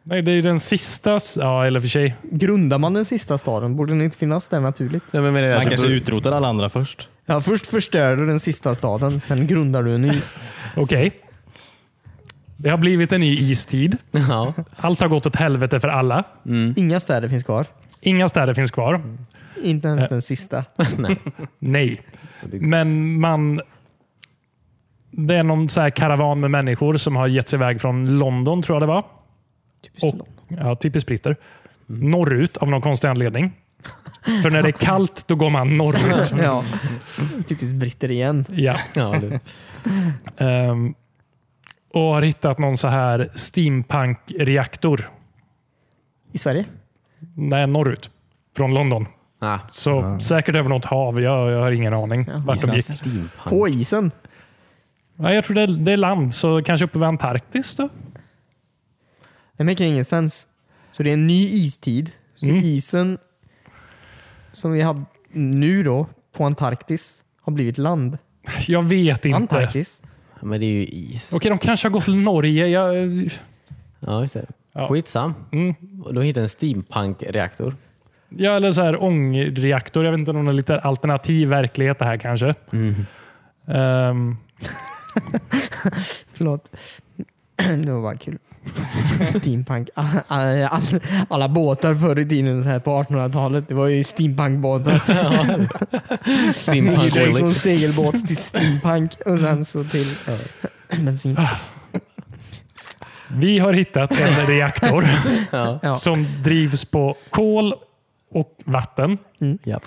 S4: Nej, det är ju den sista... s- Ja, eller för sig.
S2: Grundar man den sista staden? Borde den inte finnas där naturligt?
S1: Ja, men, men,
S3: Man kanske utrotar alla andra först.
S2: Ja, först förstör du den sista staden, sen grundar du en ny.
S4: Okej. Det har blivit en ny istid.
S1: Ja.
S4: Allt har gått åt helvete för alla.
S2: Inga städer finns kvar.
S4: Inga städer finns kvar.
S2: Inte ens
S4: Äh.
S2: den sista.
S4: Nej. Men man... Det är någon så här karavan med människor som har gett sig iväg från London, tror jag det var.
S2: Typiskt
S4: Och,
S2: London.
S4: ja, typiskt britter. Norrut av någon konstig anledning. För när det är kallt, då går man norrut.
S2: Ja. Typiskt britter igen.
S4: Ja.
S1: ja, det-
S4: Ehm, och har hittat någon så här steampunk-reaktor.
S2: I Sverige?
S4: Nej, norrut. Från London.
S1: Ah.
S4: Så säkert över något hav. Jag, jag har ingen aning vart de gick.
S2: På isen?
S4: Ja, jag tror det är, det är land, så kanske uppe vid Antarktis då?
S2: Det make ingen sens. Så det är en ny istid. Så
S4: Mm.
S2: isen som vi har nu då på Antarktis har blivit land.
S4: Jag vet inte.
S2: Antarktis.
S1: Men det är ju is.
S4: Okej, de kanske har gått till Norge. Jag,
S1: Ja, just det.
S4: Ja.
S1: Skitsam.
S4: Mm.
S1: Och då hittade en steampunk-reaktor.
S4: ja, eller så här ångreaktor. Jag vet inte om det är lite alternativ verklighet det här kanske.
S2: Mm.
S4: Ehm,
S2: Förlåt. Det var bara kul. Steampunk. Alla, alla, alla båtar förr i tiden så här på 1800-talet, det var ju steampunkbåtar. Vi gick
S1: Steampunk
S2: direkt från
S1: Willy.
S2: segelbåt till steampunk och sen så till eh, bensin.
S4: vi har hittat en reaktor
S2: Ja.
S4: som drivs på kol och vatten.
S1: Ja.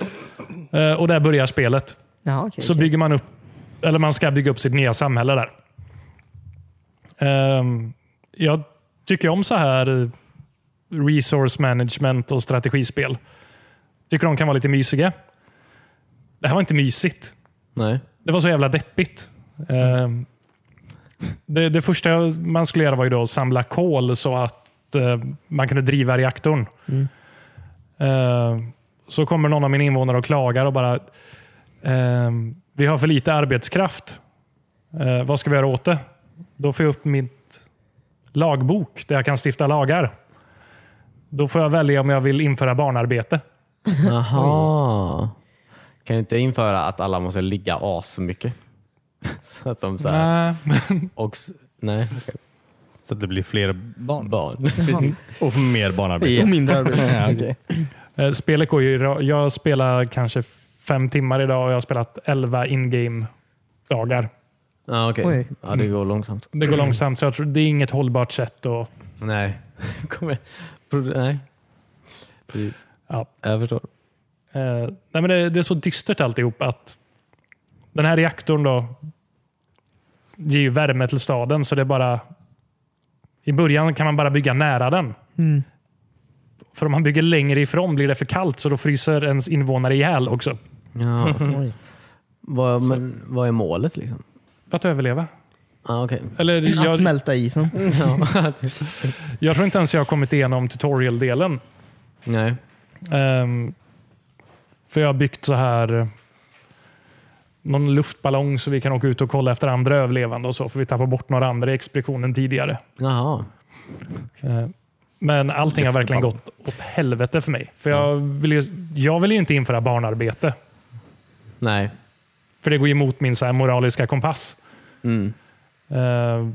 S4: Eh, och där börjar spelet.
S2: Jaha, okej,
S4: Så
S2: okej.
S4: bygger man upp, eller man ska bygga upp sitt nya samhälle där. Ehm, jag tycker om så här resource management och strategispel. Tycker de kan vara lite mysiga. Det här var inte mysigt.
S1: Nej.
S4: Det var så jävla deppigt. Ehm, det, det första jag- man skulle göra var ju då att samla kol så att eh, man kunde driva reaktorn. Ehm, så kommer någon av mina invånare och klagar och bara ehm, Vi har för lite arbetskraft. Eh, vad ska vi göra åt det? Då får jag upp mitt lagbok där jag kan stifta lagar. Då får jag välja om jag vill införa barnarbete.
S1: Jaha. Kan du inte införa att alla måste ligga asmycket? Så att de så här,
S4: Nej.
S1: och, s- nej, okej.
S3: Så att det blir fler barn.
S1: barn. Precis.
S3: Och mer barnarbete.
S2: Och mindre arbete.
S3: Ja, okej.
S4: Eh, Spelet går ju, i ra- jag spelar kanske fem timmar idag och jag har spelat 11 in-game dagar.
S1: Ja, okej.
S2: Oj.
S1: Ja, det går långsamt.
S4: Det går långsamt så jag tror det är inget hållbart sätt. Och,
S1: Nej. Kommer. Pro- Nej. Precis.
S4: Ja.
S1: Jag förstår.
S4: Eh, nej, men det, det är så dystert alltihop att den här reaktorn då ger ju värme till staden så det är bara... I början kan man bara bygga nära den.
S2: Mm.
S4: För om man bygger längre ifrån blir det för kallt så då fryser ens invånare ihjäl också.
S1: Ja, oj. vad, men, vad är målet liksom?
S4: Att överleva.
S1: Ah, okej.
S4: Eller
S2: Mm, Att
S4: jag,
S2: smälta isen.
S1: ja,
S4: jag tror inte ens jag har kommit igenom tutorial-delen.
S1: Nej.
S4: Ehm, för jag har byggt så här eh, någon luftballong så vi kan åka ut och kolla efter andra överlevande och så. För vi tappar bort några andra i expeditionen tidigare.
S1: Jaha.
S4: Eh, Men allting har verkligen gått åt helvete för mig. För jag
S1: Mm.
S4: vill ju, jag vill ju inte införa barnarbete.
S1: Nej.
S4: För det går ju emot min så här moraliska kompass.
S1: Mm.
S4: Eh,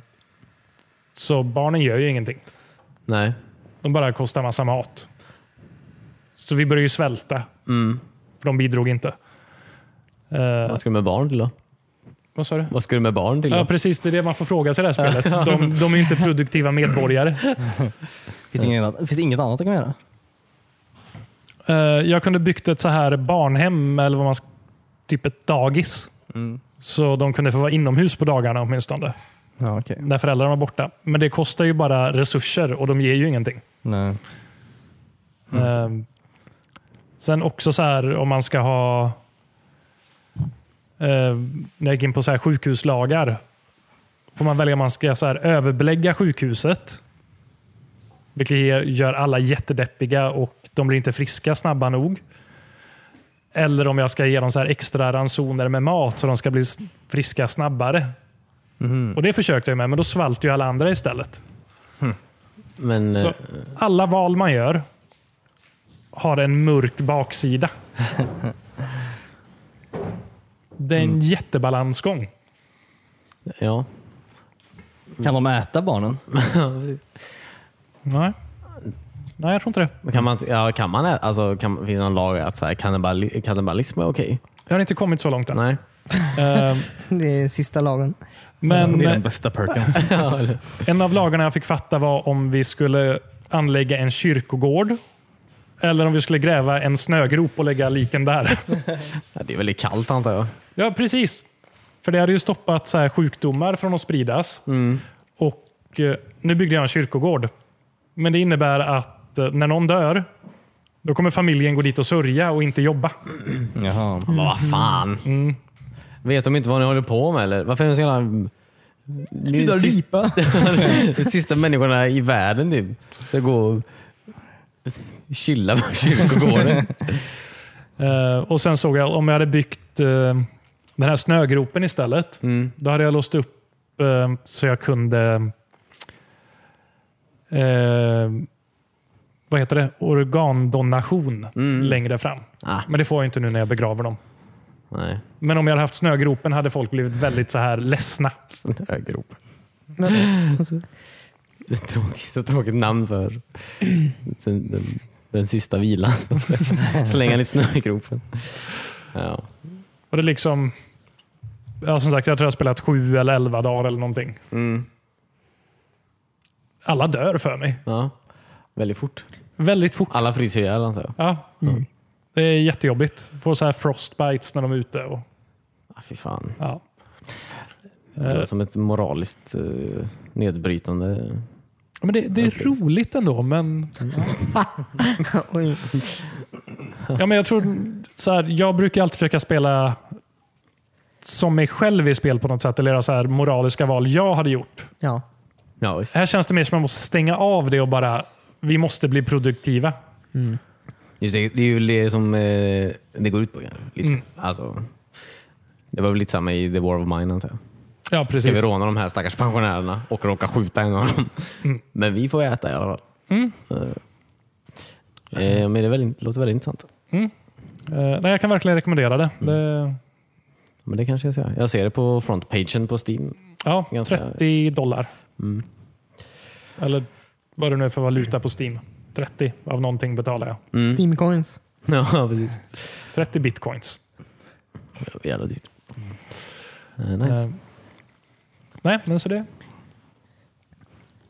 S4: Så barnen gör ju ingenting.
S1: Nej.
S4: De bara kostar massa mat. Så vi börjar ju svälta.
S1: Mm.
S4: För de bidrog inte. Eh,
S1: Vad ska du med barn till då?
S4: Vad sa du?
S1: Vad ska du med barn till då?
S4: Ja, precis. Det är det man får fråga sig i det här spelet. De, de är ju inte produktiva medborgare.
S3: Finns det, inget annat, finns det inget annat jag kan göra?
S4: Eh, Jag kunde byggt ett så här barnhem, eller vad man ska, typ ett dagis. Så de kunde få vara inomhus på dagarna åtminstone,
S3: Ja, okej.
S4: när föräldrarna var borta. Men det kostar ju bara resurser och de ger ju ingenting.
S3: Nej.
S4: Eh, Sen också så här om man ska ha... eh, När jag gick in på så här sjukhuslagar får man välja om man ska så här överbelägga sjukhuset. Vilket ger- gör alla jättedeppiga och de blir inte friska snabba nog. Eller om jag ska ge dem så här extra ransoner med mat så de ska bli s- friska snabbare. Och Det försökte jag med, men då svalt ju alla andra istället.
S1: Men,
S4: Så
S1: eh,
S4: alla val man gör har en mörk baksida. Det är en jättebalansgång.
S1: ja.
S3: Kan de äta barnen?
S4: Nej. Nej, jag tror inte det.
S1: Men Kan man, inte- ja, kan man, ä- alltså, kan, finns det någon lag att så här, kannibali, kannibalism är okej?
S4: Jag har inte kommit så långt än.
S1: Nej.
S4: Eh,
S2: Det är sista lagen.
S4: Men
S3: det är
S4: eh,
S3: den bästa perken.
S4: en av lagarna jag fick fatta var om vi skulle anlägga en kyrkogård eller om vi skulle gräva en snögrop och lägga liken där.
S1: Ja, det är väldigt kallt antar jag.
S4: Ja, precis. För det hade ju stoppat så här sjukdomar från att spridas. Och eh, Nu byggde jag en kyrkogård. Men det innebär att eh, när någon dör, då kommer familjen gå dit och sörja och inte jobba.
S3: Jaha.
S1: Men Vad fan. Mm. Vet de inte vad ni håller på med eller? Varför är de så jävla... Det är sist-
S2: ripa.
S1: de sista människorna i världen typ. Ska gå och chilla på kyrkogården.
S4: Eh, och Sen såg jag om jag hade byggt eh, den här snögropen istället. Då hade jag låst upp eh, så jag kunde... Eh, vad heter det? Organdonation längre fram.
S1: Ah.
S4: Men det får jag inte nu när jag begraver dem.
S1: Nej.
S4: Men om jag hade haft snögropen hade folk blivit väldigt så här ledsna.
S1: Snögrop. Det är tråkigt, så tråkigt namn för sen, den, den sista vilan. Slänga lite snö i gropen. Ja.
S4: Och det är liksom... Ja, som sagt, jag tror jag har spelat sju eller elva dagar eller någonting.
S1: Mm.
S4: Alla dör för mig.
S1: ja. Väldigt fort.
S4: Väldigt fort.
S1: Alla fryser ihjäl antar jag.
S4: Ja. Det är jättejobbigt. Får så här frostbites när de är ute. Och,
S1: Ah, fy fan.
S4: ja.
S1: Det låter som ett moraliskt eh, nedbrytande.
S4: Men det, det är roligt ändå, men,
S2: Oj.
S4: ja, men jag, tror, så här, jag brukar alltid försöka spela som mig själv i spel på något sätt. Eller göra så här moraliska val jag hade gjort.
S2: Ja.
S1: Ja, visst.
S4: Här känns det mer som att man måste stänga av det och bara, vi måste bli produktiva.
S1: Just det, det är ju det som eh, det går ut på. kanske. Lite.
S4: Mm.
S1: Alltså, det var väl lite samma i The War of Mine antar jag.
S4: Ja,
S1: Ska vi
S4: precis.
S1: råna de här stackars pensionärerna och råka skjuta en av dem? Men vi får äta i alla fall. Eh, men det är väldigt, låter väldigt intressant.
S4: Eh, nej, jag kan verkligen rekommendera det. det
S1: Men det kanske jag ser. Jag ser det på frontpagen på Steam.
S4: ja,
S1: Ganska-
S4: 30 dollar. Eller vad det nu är för valuta på Steam. 30 av någonting betalar jag.
S2: Mm. Steamcoins.
S1: ja, precis.
S4: 30 bitcoins.
S1: Det var Jävla dyrt. Eh, nice.
S4: Eh, nej, men så det.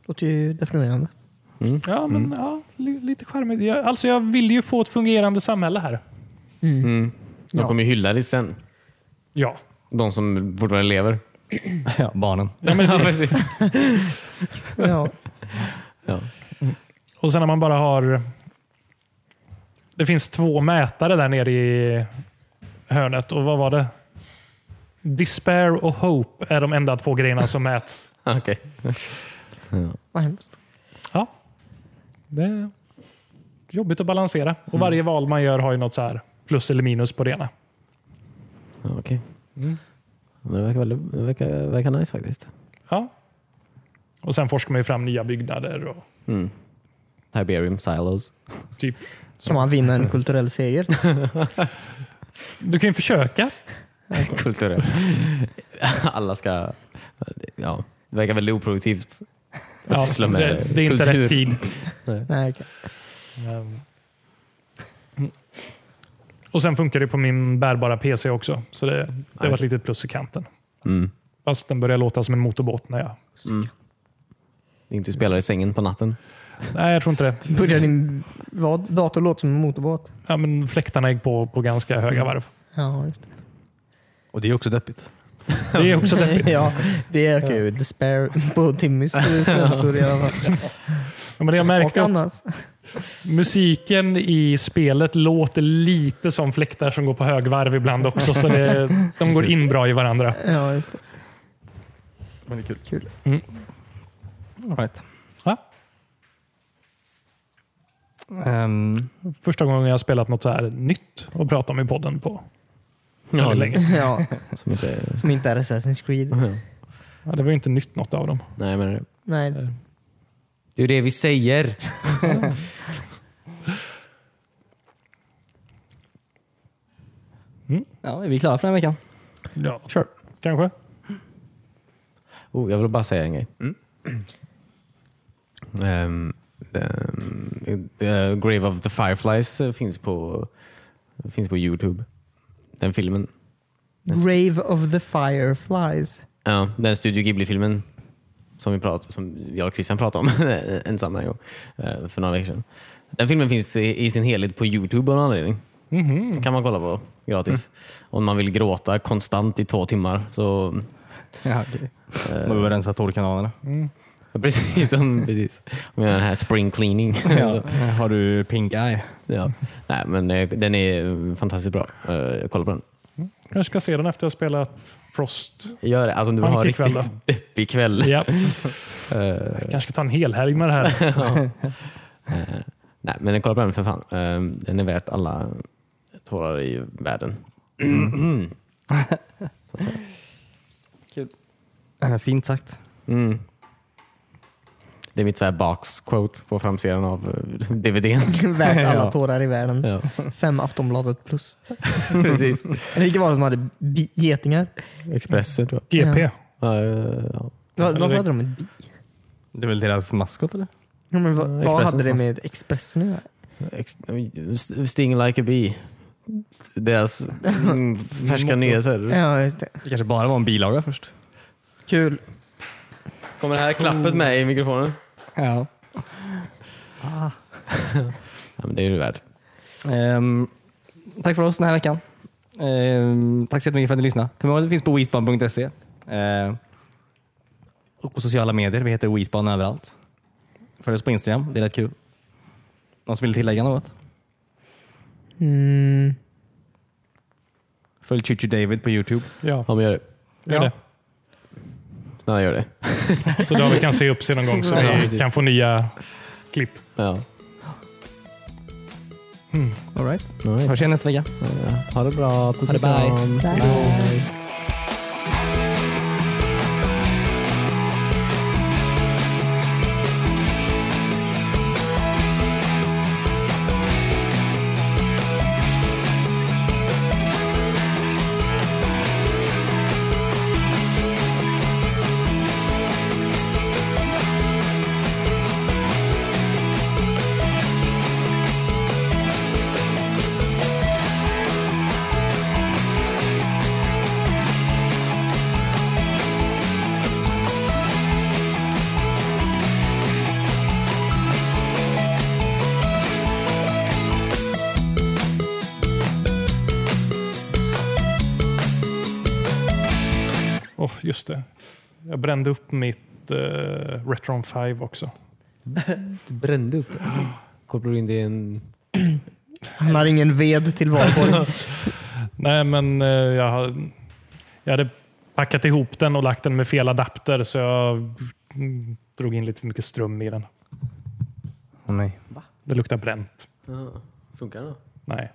S2: Låter ju deprimerande.
S4: Ja, men ja, li- lite charmigt. Jag, alltså, jag vill ju få ett fungerande samhälle här.
S1: De
S2: Ja.
S1: kommer ju hylla dig sen.
S4: Ja.
S1: De som fortfarande lever.
S3: Ja, barnen.
S2: Ja.
S4: Och sen när man bara har... Det finns två mätare där nere i hörnet. Och vad var det? Despair och hope är de enda två grejerna som mäts.
S1: Okej.
S2: Vad hemskt.
S4: Ja. Det är jobbigt att balansera. Och varje val man gör har ju något så här plus eller minus på det ena.
S1: Ja, okej. Mm. Men det verkar, väldigt, det verkar, det verkar nice faktiskt.
S4: Ja. Och sen forskar man ju fram nya byggnader. Och
S1: Mm. Tiberium silos.
S4: typ.
S2: Som man vinner en kulturell seger.
S4: Du kan ju försöka.
S1: Kulturell. Alla ska... Ja, det verkar väldigt oproduktivt.
S4: Ja,
S1: syssla med
S4: det, det är inte
S1: kultur.
S4: rätt tid. Ehm.
S2: Nej, okej.
S4: Och sen funkar det på min bärbara PC också. Så det, det var ett litet plus i kanten.
S1: Mm.
S4: Fast den börjar låta som en motorbåt när jag...
S1: Det är inte att spela i sängen på natten.
S4: Nej, jag tror inte det.
S2: Börjar din vad, dator låta som en motorbåt?
S4: Ja, men fläktarna gick på på ganska höga varv.
S2: Ja, just det.
S3: Och det är också deppigt.
S4: Det är också deppigt.
S2: ja, det ökar ju despair på Timmys eh, sensor i alla fall.
S4: Ja, Men det jag
S2: Och
S4: märkte också,
S2: annars.
S4: musiken i spelet låter lite som fläktar som går på högvarv ibland också. Så det, de går in bra i varandra.
S2: Ja, just det.
S3: Men det är kul.
S2: Kul.
S4: Mm.
S3: All right.
S4: Ja,
S3: Ehm,
S4: första gången jag har spelat något så här nytt att prata om i podden på väldigt länge.
S2: Ja,
S1: Som inte...
S2: som inte är Assassin's Creed.
S4: Ja, det var ju inte nytt något av dem.
S1: Nej, men det
S2: Nej.
S1: det är ju det vi säger.
S3: ja, är vi klara för den här veckan?
S4: Ja,
S3: Sure.
S4: kanske.
S1: Oh, jag vill bara säga en grej. Ehm, ehm, eh, Grave of the Fireflies eh, finns på, finns på Youtube. Den filmen.
S2: Grave of the Fireflies.
S1: Ja, den Studio Ghibli-filmen som, vi prat, som jag och Christian pratade om ensamma en gång, eh, för några veckor sedan. Den filmen finns i, i sin helhet på Youtube av någon anledning. Den kan man kolla på gratis. Om man vill gråta konstant i två timmar så
S3: Ja, okay. Man behöver rensa torrkanalerna.
S1: eh, Precis, som, precis. Med den här spring cleaning.
S3: Ja. Har du pink eye?
S1: ja. Nej, men eh, den är fantastiskt bra. Eh, Jag kollar på den.
S4: Kanske ska se den efter jag spelat Frost.
S1: Gör det. Alltså, om du vill ha en
S4: Funky
S1: riktigt
S4: kväll
S1: deppig kväll.
S4: Ja.
S1: Eh,
S4: Kanske ska ta en hel helg med det här.
S1: nej, men jag kollar på den för fan. Eh, den är värt alla tårar i världen. Så att säga.
S3: Eh, Fint sagt.
S1: Mm. Det är mitt så här box quote på framsidan av eh, DVDn.
S2: Värt alla
S3: Ja.
S2: tårar i världen.
S1: Ja,
S2: Fem Aftonbladet plus.
S1: precis.
S2: Eller vilka var det som hade bi- getingar?
S1: Expressen tror jag.
S4: GP.
S2: Ja.
S1: Eh, ja.
S2: Vad, vad
S4: Eller-
S2: hade de med bi?
S3: Det är väl deras maskot eller?
S2: Ja, men vad, vad
S1: Expressen.
S2: hade det med Expressen att göra?
S1: Ex- Sting like a bee. Deras mm, färska nyheter.
S2: Ja, just det.
S3: Det kanske bara var en bilaga först.
S2: Kul.
S1: Kommer det här klappet med i mikrofonen?
S3: Ja.
S1: Ja, men det är du värd.
S3: Ehm, tack för oss den här veckan. Ehm, tack så jättemycket för att ni lyssnade. Kom ihåg att vi finns på wispan.se. Ehm, och på sociala medier. Vi heter Wispan överallt. Följ oss på Instagram. Det är rätt kul. Någon som vill tillägga något?
S2: Mm.
S3: Följ Chuchu David på Youtube.
S4: Ja,
S1: Ja, men gör det.
S4: gör det.
S1: Snälla gör det.
S4: Så David kan se upp sig någon gång så vi kan få nya klipp.
S1: Ja.
S3: All right.
S1: All right.
S3: Hörs igen nästa vecka.
S1: Ha det bra. Puss
S3: och kram.
S4: just det. Jag brände upp mitt eh, Retron 5 också.
S1: Du brände upp det. Kopplar du in det i en...
S2: Han har ingen ved till valborg.
S4: Nej, men eh, jag, har- jag hade packat ihop den och lagt den med fel adapter så jag mm, drog in lite för mycket ström i den.
S3: Åh nej.
S4: Det luktar bränt.
S1: Funkar det då?
S4: Nej.